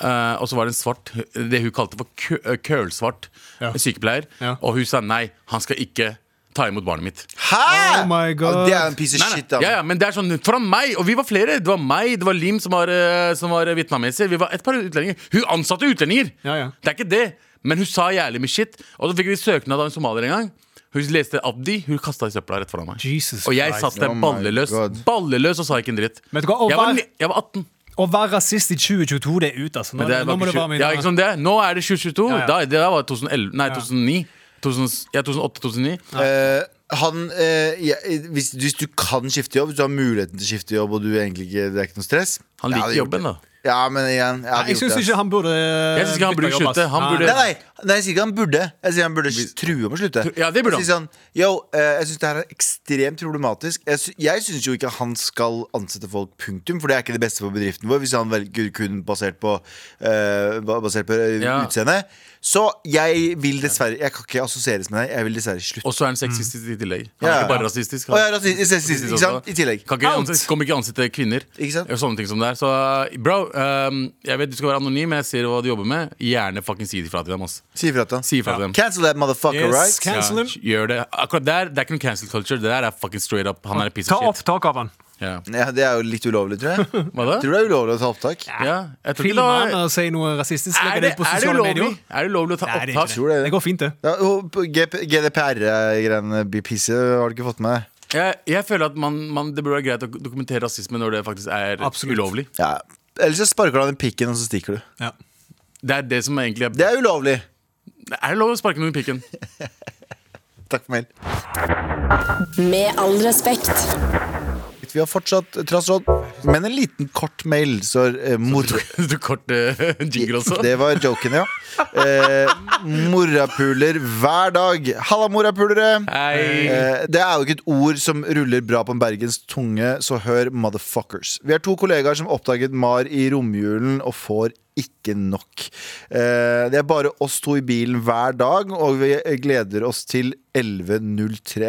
S4: Eh, og så var det en svart, det hun kalte for kø- eh, kølsvart
S2: Ja.
S4: sykepleier.
S2: Ja.
S4: Og hun sa nei, han skal ikke ta imot barnet mitt.
S3: Hæ?!
S2: Oh my God.
S3: Ja, Det er en piece of
S4: Nei, nei.
S3: shit. da.
S4: Ja, ja, men det er sånn foran meg, og vi var flere. Det var meg, det var Lim som var, eh, som var vietnameser. Vi var et par utlendinger. Hun ansatte utlendinger!
S2: Ja, ja.
S4: Det er ikke det. Men hun sa jævlig mye shit. Og så fikk vi søknad av en somalier en gang. Hun leste Abdi. Hun kasta i søpla rett foran meg.
S2: Jesus
S4: og jeg
S2: Christ.
S4: satt der
S3: Oh my
S4: balleløs
S3: God.
S4: Balleløs og sa ikke en dritt.
S2: Vet du hva, og
S4: jeg, var,
S2: hver-
S4: ni- jeg var 18.
S2: Å være rasist i 2022, det er ut, altså. Nå,
S4: Men det var
S2: nå må
S4: ikke
S2: det være
S4: tjue-
S2: min
S4: ja, ikke sant det? Nå er det 2022.
S2: Ja, ja.
S4: Da, det der var 2011, nei, 2009. 2000, ja, 2008-2009.
S3: Eh, han, eh, jeg, hvis, hvis du kan skifte jobb, hvis du har muligheten til å skifte jobb, og du egentlig ikke, det er ikke noe stress
S4: Han
S3: Jeg
S4: liker
S3: hadde gjort
S4: jobben, da.
S3: det. Ja, men igjen, jeg hadde
S2: Nei, jeg
S3: gjort
S2: syns
S3: det.
S2: ikke han burde eh,
S4: Jeg synes ikke han burde
S2: bytte jobb, ass.
S4: slutte. Han
S2: Nei.
S4: burde-
S3: Nei, nei, nei, jeg sier ikke han burde. Jeg sier han burde s- true med å slutte.
S4: Ja, det burde
S3: jeg sier sånn, Yo, eh, jeg syns det her er ekstremt problematisk. Jeg, sy jeg syns jo ikke han skal ansette folk, punktum, for det er ikke det beste for bedriften vår, hvis han velger kun basert på, eh, ba- basert på eh,
S4: Ja.
S3: utseende. Så jeg vil dessverre Jeg kan ikke assosieres med deg. Jeg vil dessverre slutte.
S4: Og så
S2: Mm.
S4: er han sexistisk i tillegg. Han
S3: Ja,
S4: er
S3: ja.
S4: ikke bare rasistisk.
S3: Å, ja, rasist, rasist, ikke sant? I tillegg.
S4: Kan ikke
S2: Out!
S4: ansette, kommer ikke ansette kvinner.
S3: Ikke sant?
S4: Og sånne ting som det er. Så bro, ehm, jeg vet du skal være anonym, men jeg ser hva du jobber med. Gjerne fucking si det fra til dem. ass.
S3: Si ifra til han.
S4: Si ifra til dem.
S3: Cancel that motherfucker,
S2: Yes,
S3: right?
S2: cancel him.
S4: Gjør det. Akkurat der, Det er ikke noen cancel culture. Det der er fucking straight up. Han er en piece
S2: Ta
S4: of shit.
S2: opptak av han.
S4: Ja.
S3: Ja, det er jo litt ulovlig, tror jeg.
S4: [LAUGHS] Hva
S3: Tror
S4: da?
S3: du det er ulovlig å ta opptak?
S4: Ja, jeg tror ikke
S2: Film han
S4: det var-
S2: og si noe rasistisk.
S4: er
S2: Legg
S4: det,
S2: det ut på
S4: er det
S2: sosiale
S4: ulovlig?
S2: medier.
S4: Er det ulovlig å ta
S2: Nei, det
S4: opptak?
S2: er ikke det. Det går fint, det.
S3: Ja, og på GP GDPR-greiene blir pisse, har du ikke fått med det?
S4: Jeg, jeg føler at man, man, det burde være greit å dokumentere rasisme når det faktisk er
S2: Absolutt.
S4: ulovlig.
S3: Ja. Ellers så sparker du han i pikken, og så stikker du.
S2: Ja.
S4: Det er det som egentlig er
S3: Det er ulovlig.
S4: Er det lov å sparke noen i pikken? [LAUGHS]
S3: Takk for mail.
S6: Med all respekt.
S3: Vi har fortsatt trassråd, men en liten kort mail, så eh, mor... [LAUGHS]
S4: Du kort eh, jingle også?
S3: Det var joken, ja. Eh, morapuler hver dag. Halla, morapulere!
S4: Hei.
S3: Eh, Det er jo ikke et ord som ruller bra på en bergens tunge, så hør motherfuckers. Vi er to kollegaer som oppdaget Mar i romjulen og får ikke nok. Eh, Det er bare oss to i bilen hver dag, og vi gleder oss til 11.03.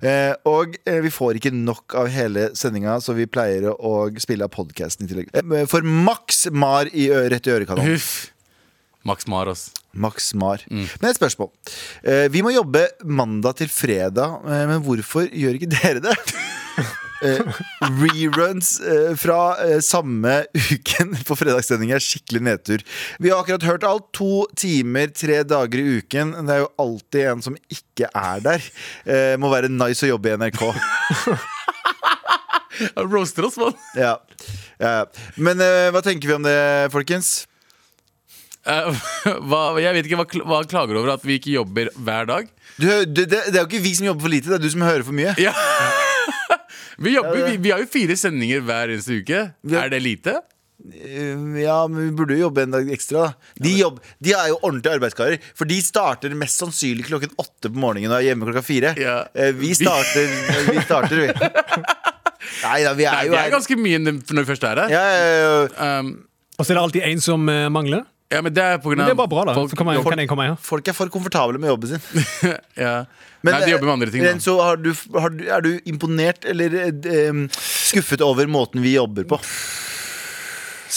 S3: Eh, Og eh, vi får ikke nok av hele sendinga, så vi pleier å spille av podkasten i tillegg. Eh, For maks Mar i ø- rett i ørekanalen.
S4: Huff. Max Maros.
S3: Max Mar. Men et spørsmål. Eh, vi må jobbe mandag til fredag, eh, men hvorfor gjør ikke [LAUGHS] dere det? Eh, reruns eh, fra eh, samme uken på fredagssending er skikkelig nedtur. Vi har akkurat hørt alt. To timer, tre dager i uken. Det er jo alltid en som ikke er der. Eh, må være nice å jobbe i NRK.
S4: Han roaster oss, mann.
S3: ja. Ja. Men eh, hva tenker vi om det, folkens?
S4: Eh, [LAUGHS] hva, jeg vet ikke hva, kl- hva han klager over at vi ikke jobber hver dag.
S3: Du, hø- det, det det er jo ikke vi som jobber for lite, det er du som hører for mye.
S4: [LAUGHS] Ja. Vi, jobber, vi, vi har jo fire sendinger hver eneste uke.
S3: Ja.
S4: Er det lite?
S3: Eh, Ja, men vi burde jo jobbe en dag ekstra, da. De, jobb, de er jo ordentlige arbeidskarer. For de starter mest sannsynlig klokken åtte på morgenen og er hjemme klokka fire.
S4: Ja.
S3: Eh, Vi starter, eh, vi. starter,
S4: [LAUGHS]
S3: vi. Nei da, vi er
S4: Nei,
S3: jo
S4: vi er ganske mye når vi først er her.
S3: ja, ja, ja.
S4: Um,
S2: Og så er det alltid en som eh, mangler.
S4: ja, men det er på grunn
S2: Men
S4: av
S2: det er bare bra, da.
S4: folk-
S2: Så kan, man,
S4: folk-
S2: kan jeg komme her.
S3: Folk er for komfortable med jobben sin.
S4: ja. Nei, de jobber med andre ting.
S3: eh,
S4: da.
S3: Renzo, har du, har, du- er du imponert eller eh, d- em, skuffet over måten vi jobber på?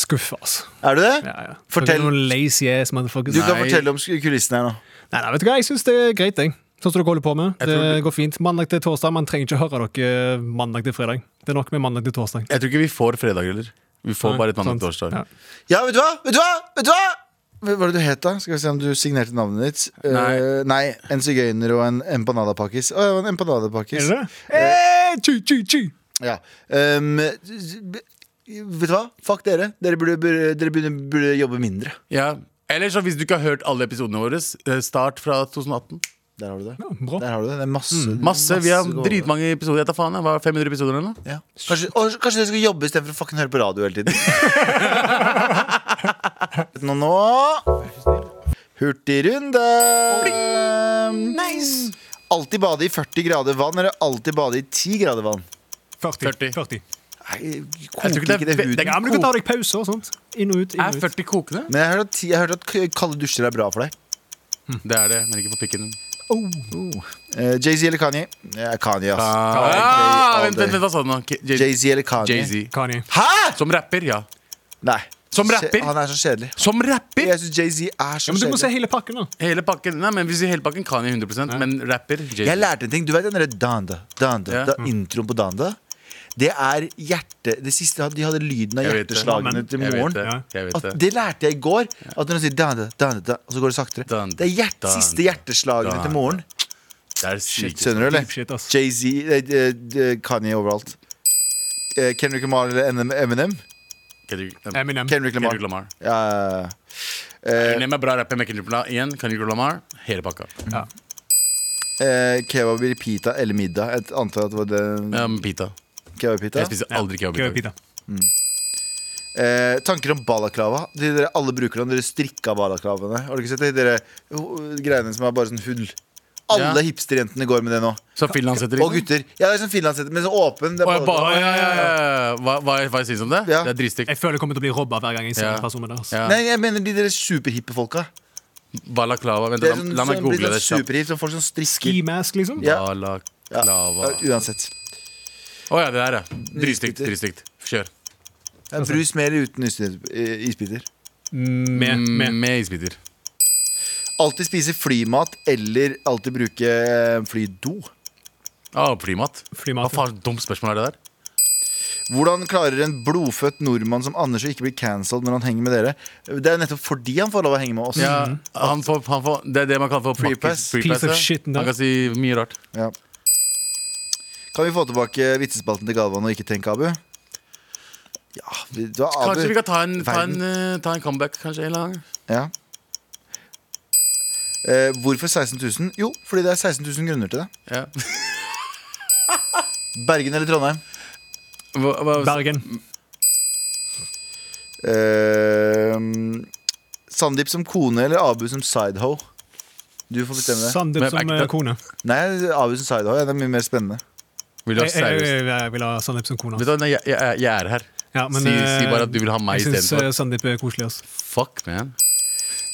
S2: Skuffa, altså.
S3: Er du det?
S2: Ja, ja.
S3: Fortell.
S2: Noen lazy ass motherfuckers.
S3: Du kan
S4: Nei.
S3: fortelle om sk- kulissene her nå.
S2: Nei, nei, vet du hva, jeg syns det er greit, jeg. Sånn som dere holder på med.
S4: Jeg
S2: Det
S4: tror det-
S2: går fint. Mandag til torsdag. Man trenger ikke høre dere eh, mandag til fredag. Det er nok med mandag til torsdag.
S4: Jeg tror ikke vi får fredag heller. Vi får bare et mandag til torsdag.
S2: Ja.
S3: Ja, vet du hva? Vet du hva? Vet du hva? Hva var det du het, da? Skal vi se om du signerte navnet ditt. Eh,
S4: Nei.
S3: nei en sigøyner og en empanadapakkis. Å, det var en empanadapakkis.
S2: Er det det? Eh, tju, tju, tju.
S3: Ja. Um, vet du hva? Fuck dere. Dere burde, burde, dere burde, burde jobbe mindre.
S4: Ja. Eller så hvis du ikke har hørt alle episodene våre, eh, start fra 2018.
S3: Der har du det.
S2: Ja, bra.
S3: Der har du det. Det er masse,
S4: Masse, Vi har
S3: gode-
S4: dritmange episoder. Jeg tar faen, jeg. Hva, 500 episoder eller noe?
S3: Ja. Kanskje, og, kanskje dere skal jobbe istedenfor å fucking høre på radio hele
S4: [LAUGHS]
S3: tiden. nå, nå. Hurtigrunde. Nice. Alltid bade i 40 grader vann eller alltid bade i 10 grader vann?
S2: 40.
S4: 40.
S2: 40.
S3: Nei,
S4: Jeg
S3: koker
S4: tror
S3: ikke det
S4: ve-
S3: huden?
S4: det er
S2: Ja, men du kan ta deg pauser og sånt. Inn og ut. Inn
S4: Er
S2: og ut.
S4: 40 kokende?
S3: Men jeg har hørt at, jeg har hørt at k- kalde dusjer er bra for deg.
S4: Mm. Det er det, men ikke på pikken.
S2: Oh.
S3: Eh, Jay-Z eller Kanye? Eh, Kanye, ass.
S4: Ah,
S3: Kanye,
S4: vent, vent, vent, hva sa du nå? K- Jay-
S3: Jay-Z eller Kanye?
S4: Jay-Z.
S2: Kanye.
S3: Hæ?!
S4: Som rapper, ja.
S3: Nei.
S4: Som rapper?
S3: Kje- Han er så kjedelig.
S4: Som rapper?
S3: Jeg syns Jay-Z er så
S2: Ja, men du må se
S3: kjedelig.
S2: hele pakken, da.
S4: Hele pakken, nei, men Hvis vi sier hele pakken, kan jeg 100 men rapper Jay-Z.
S3: Jeg lærte en ting. Du vet den derre Danda? Danda.
S4: Ja.
S3: Da, introen på Danda? Det er hjerte... Det siste De hadde lyden av
S4: Jeg vet det.
S3: hjerteslagene til
S4: Jeg vet
S3: moren.
S4: det. Jeg vet
S3: At
S4: det.
S3: det lærte jeg i går. At når hun sier danda, danda, danda, og så går det saktere.
S4: Danda,
S3: det er hjert,
S4: danda,
S3: siste hjerteslagene
S4: danda.
S3: til moren.
S4: Det er sykt.
S3: Skjønner du, eller?
S2: Deep shit, ass.
S3: Jay-Z, eh, eh, eh, Kanye overalt. Eh, Kendrick Lamar eller NM Eminem?
S4: Kendrick eh,
S2: Eminem.
S3: Kendrick Lamar.
S4: Kendrick Lamar.
S3: Ja, ja, ja. Eh,
S4: Eminem er bra rapper med Kendrick Lamar igjen. Kendrick Lamar, hele pakka.
S3: eh, kebab eller pita eller middag? Jeg antar at det var det.
S4: Um, pita.
S3: Kebab eller pita.
S4: Jeg spiser aldri kebab. i
S2: Kø,
S4: dag.
S2: pita.
S3: Eh, tanker om balaklava. De dere alle bruker den, dere strikka balaklavene. Har du ikke sett det? De dere ho- greiene som er bare sånn hull. Alle
S4: Ja.
S3: hipsterjentene går med det nå.
S4: Så Finland setter
S3: Og gutter. Ja, det er sånn finlandshette, men så åpen. Det er
S4: Å, jeg ba,
S3: balaklava.
S4: ja, ja, ja. ja. Hva, hva, hva sies om det?
S3: Ja.
S4: Det er dritstygt.
S2: Jeg føler jeg kommer til å bli robba hver gang jeg ser
S4: Ja.
S2: en person med det. ass.
S4: Ja.
S3: Nei, jeg mener de dere superhippe folka.
S4: Balaklava. Vent,
S3: Det
S4: la,
S3: er sånn,
S4: la meg
S3: sånn, blitt
S4: google det
S3: sånn
S4: kjapt.
S3: superhipp, sånn folk som strikker.
S2: Ski mask, liksom.
S3: Ja. Ja.
S4: Balaklava.
S3: Ja, uansett.
S4: Å ja, det der, ja. Dritstygt. Dritstygt. Kjør.
S3: Ja, brus med eller uten isbiter- eh, isbiter.
S2: Med,
S4: Med,
S2: med.
S4: Mm, med isbiter.
S3: Alltid spise flymat eller alltid bruke eh, flydo.
S4: Å, flymat. Hva
S2: Flymat.
S4: faen dumt spørsmål er det der?
S3: Hvordan klarer en blodfødt nordmann som Anders å ikke bli cancelled når han henger med dere? Det er nettopp fordi han får lov å henge med oss.
S4: Ja, han får, han får, det er det man kan få
S3: Free pass.
S2: Mm. Piece of
S4: ja.
S2: shit, da.
S4: Han kan si mye rart.
S3: Ja. Kan vi få tilbake vitsespalten til Galvan og ikke tenke Abu? Ja, vi- du har Abu.
S4: Kanskje vi kan ta en, ta en,
S3: verden.
S4: eh, ta en comeback kanskje en eller annen gang.
S3: Ja. Eh, hvorfor 16 000? Jo, fordi det er 16 000 grunner til det.
S4: Ja.
S3: Bergen eller Trondheim?
S4: Hva, hva,
S2: Bergen.
S3: Eh, Sandeep som kone eller Abu som sidehoe? Du får bestemme det.
S2: Sandeep
S4: Men
S2: som
S4: er ikke
S2: eh,
S4: det-
S2: kone.
S3: Nei, Abu som sidehoe ja, det er mye mer spennende.
S4: vil du ha
S2: Jeg, jeg,
S4: seriøst?
S2: jeg, jeg vil ha Sandeep som kone. ass.
S4: Vet du hva, nei, jeg, jeg, jeg er her.
S2: eh, Ja, men,
S4: si,
S2: eh,
S4: si bare at du vil ha meg
S2: Jeg eh, syns
S4: istedenfor.
S2: Sandeep er koselig. ass.
S4: Fuck, man.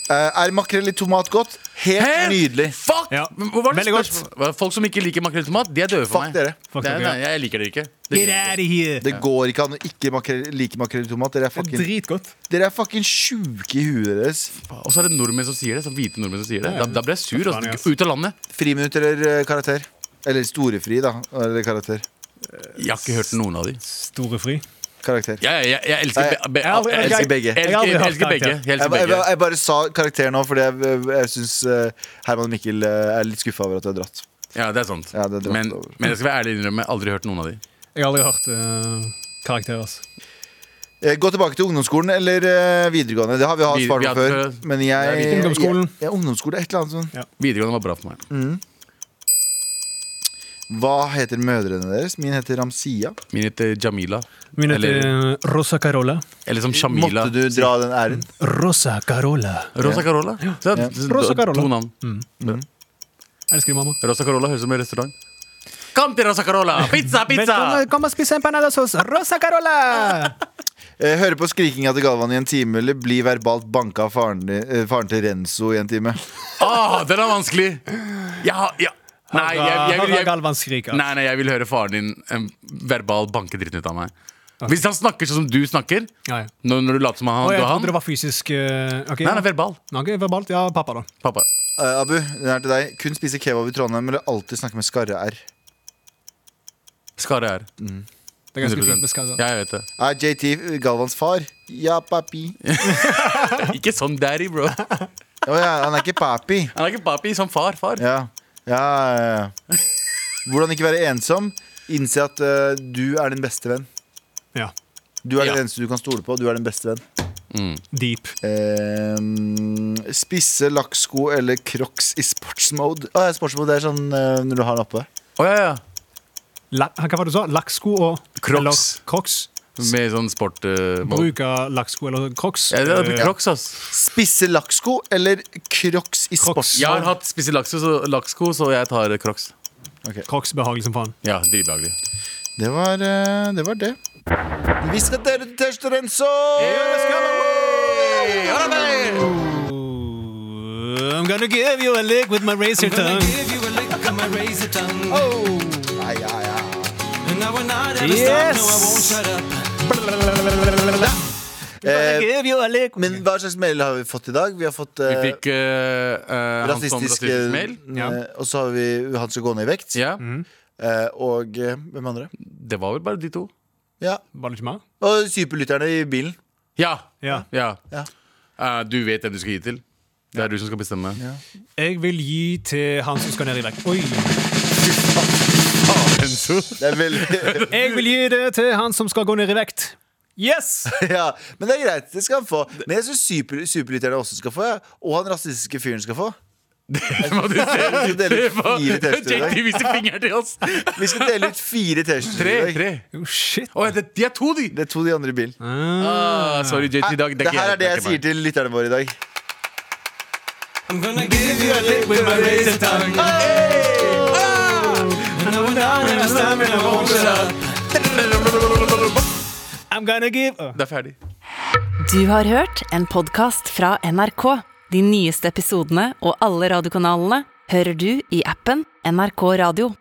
S3: Eh, er makrell i tomat godt? Helt,
S4: Helt
S3: nydelig.
S4: Fuck!
S2: Ja.
S4: Men Hva var det
S2: Veldig godt.
S4: spørsmål? Folk som ikke liker makrell i tomat, de er døde for
S3: Fuck
S4: meg.
S3: dere.
S2: Fuck
S4: Nei,
S2: dere,
S4: nei, jeg liker dere ikke. Det
S2: Get
S4: liker jeg
S2: out of here!
S3: Det går ikke an å ikke makrell, like makrell i tomat. Dere er fucking,
S2: Dritgodt.
S3: dere er fucking sjuke i huet deres.
S4: ikke. Og så er det nordmenn som sier det. Så hvite nordmenn som sier det. Da, da ble jeg sur.
S2: faen, jeg, ass.
S4: Altså. Ut av landet.
S3: Friminutt eller eh, karakter? Eller storefri, da. Eller karakter.
S4: Jeg har ikke hørt noen av de.
S2: Storefri.
S3: Karakter. Jeg,
S4: Jeg, jeg, jeg elsker,
S3: Nei,
S4: be, be,
S2: jeg har aldri-
S4: jeg
S3: jeg elsker
S4: elsker
S3: begge.
S4: Jeg
S2: Jeg har aldri
S4: elsker, jeg
S2: hatt
S4: elsker begge.
S2: karakter.
S4: Jeg elsker
S3: ba- jeg,
S4: begge.
S3: ba- jeg bare sa karakter nå, fordi jeg, jeg, jeg syns eh, Herman og Mikkel eh, er litt skuffa over at du har dratt.
S4: Ja, det er sant.
S3: Ja, det er dratt
S4: men,
S3: over.
S4: men jeg skal være ærlig og innrømme, jeg har aldri hørt noen av de.
S2: Jeg har aldri hørt eh, karakter, ass.
S3: Eh, Gå tilbake til ungdomsskolen eller eh, videregående. Det har vi hatt
S4: Vi-
S3: svar på
S4: vi hadde
S3: før.
S4: før.
S3: Men jeg,
S4: Det er
S2: ungdomsskolen.
S3: sånn. Jeg, jeg, ungdomsskole, et eller annet sånt.
S4: Videregående var bra for meg.
S3: Hva heter mødrene deres? Min heter Ramsia.
S4: Min heter Jamila.
S2: Min heter
S4: eller,
S2: eh, Rosa Carola.
S4: eller som Shamila.
S3: Eh, Måtte du dra den æren?
S2: Rosa Carola.
S4: Rosa Carola. Så,
S2: Rosa
S4: to-
S2: Carola. Mm.
S4: To navn.
S2: Elsker du mamma?
S4: Rosa Carola høres ut som en restaurant. Kom til Rosa Carola! Pizza, pizza!
S2: Velkommen, Kom og spis empanadas hos Rosa Carola!
S3: Eh, Høre på skrikinga til Galvan i en time, eller bli verbalt banka av faren, din- eh, faren til Renzo i en time? Eh,
S4: Ah, den er vanskelig! Ja, ja. [LAUGHS] Nei, jeg, jeg, vil-
S2: Altså,
S4: jeg,
S2: Galvan skriker.
S4: nei, nei, jeg vil høre faren din em, verbal banke dritten ut av meg. Hvis han snakker sånn som du snakker,
S2: Ja, ja.
S4: når, når du later som han,
S2: Å,
S4: du
S2: jeg
S4: er
S2: trodde det
S4: han
S2: var fysisk eh, Ok,
S4: Nei, nei, verbal.
S2: Ok, verbalt. Ja, pappa, da.
S4: Pappa.
S3: Eh, Abu, den er til deg. Kun spise kebab i Trondheim, eller alltid snakke med skarre-r.
S4: Skare er
S2: Det er ganske fint med skade.
S4: Ja, jeg vet det.
S3: Er JT Galvans far? Ja, papi.
S4: Ikke sånn daddy, bro. Han
S3: Å ja, han er ikke papi.
S4: er ikke papi som far. far
S3: Ja. Ja, ja, ja. Hvordan ikke være ensom? Innse at eh, du er din beste venn.
S2: Ja.
S3: Du er
S4: Ja.
S3: den eneste du kan stole på. Du er den beste venn.
S2: Deep.
S3: Eh, spisse lakksko eller crocs i sportsmode. Å, ja, sportsmode det er sånn eh, når du har den oppe.
S4: Å, ja, ja.
S2: La, hva var det du sa? Lakksko og
S4: Crocs.
S2: eller Crocs.
S4: Med sånn sport eh, mode.
S2: Bruk av lakksko eller crocs.
S4: Ja, det
S2: Eh,
S4: er Crocs, ass.
S3: Spisse lakksko eller crocs i
S2: Crocs.
S4: Jeg har
S3: sportsmode?
S4: hatt spist laksko, så, laksko, så jeg tar Crocs.
S2: Crocs behagelig som faen.
S4: Ja, Dritbehagelig.
S3: Det var, eh, det var det. Vi skal dele til Tørst og Renso!
S2: Oh, I'm gonna give you a lick with my razor tongue.
S3: Ja, ja, ja.
S2: Yes!
S3: Eh,
S2: Give you a lick.
S3: men hva slags mail har vi fått i dag? Vi har fått
S4: Vi
S3: eh,
S4: fikk eh, eh, han som
S3: rasistisk
S4: rasistisk mail.
S3: eh, eh, Og så har vi han som går ned i vekt.
S4: Ja,
S3: Eh, og eh, hvem andre?
S4: Det var vel bare de to.
S3: Ja.
S2: Var det ikke meg?
S3: Og superlytterne i bilen.
S4: Ja!
S2: Ja.
S4: ja.
S3: Ja.
S4: Eh, du vet hvem du skal gi til. Det er du som skal bestemme. [LAUGHS]
S2: Jeg vil gi til han som skal ned i vekt. Oi.
S4: Ah, Enzo.
S3: Det er
S4: [LAUGHS]
S3: veldig
S2: Jeg vil gi det til han som skal gå ned i vekt. Yes!
S3: [LAUGHS] ja, Men det er greit, det skal han få. Men jeg syns super, superlytterne også skal få, ja. og han rasistiske fyren skal
S4: [LAUGHS]
S3: få.
S4: Må du se.
S3: Vi skal dele
S4: Det
S3: ut
S4: var-
S3: fire T-skjorter i
S4: JT
S3: dag.
S4: viser fingeren til oss.
S3: Vi skal dele ut fire T-skjorter i
S4: Tre.
S3: dag.
S4: tre
S2: Oh, shit.
S4: Å, det, De er to, de!
S3: Det er to av de andre i bilen.
S4: Ah, sorry, JT. i dag,
S3: Det
S4: ikke
S3: her
S4: jeg,
S3: er det jeg
S4: ikke meg.
S3: sier til lytterne våre i dag.
S2: I'm gonna give uh.
S4: Det er ferdig.
S1: Du har hørt en podkast fra NRK. De nyeste episodene og alle radiokanalene hører du i appen NRK Radio.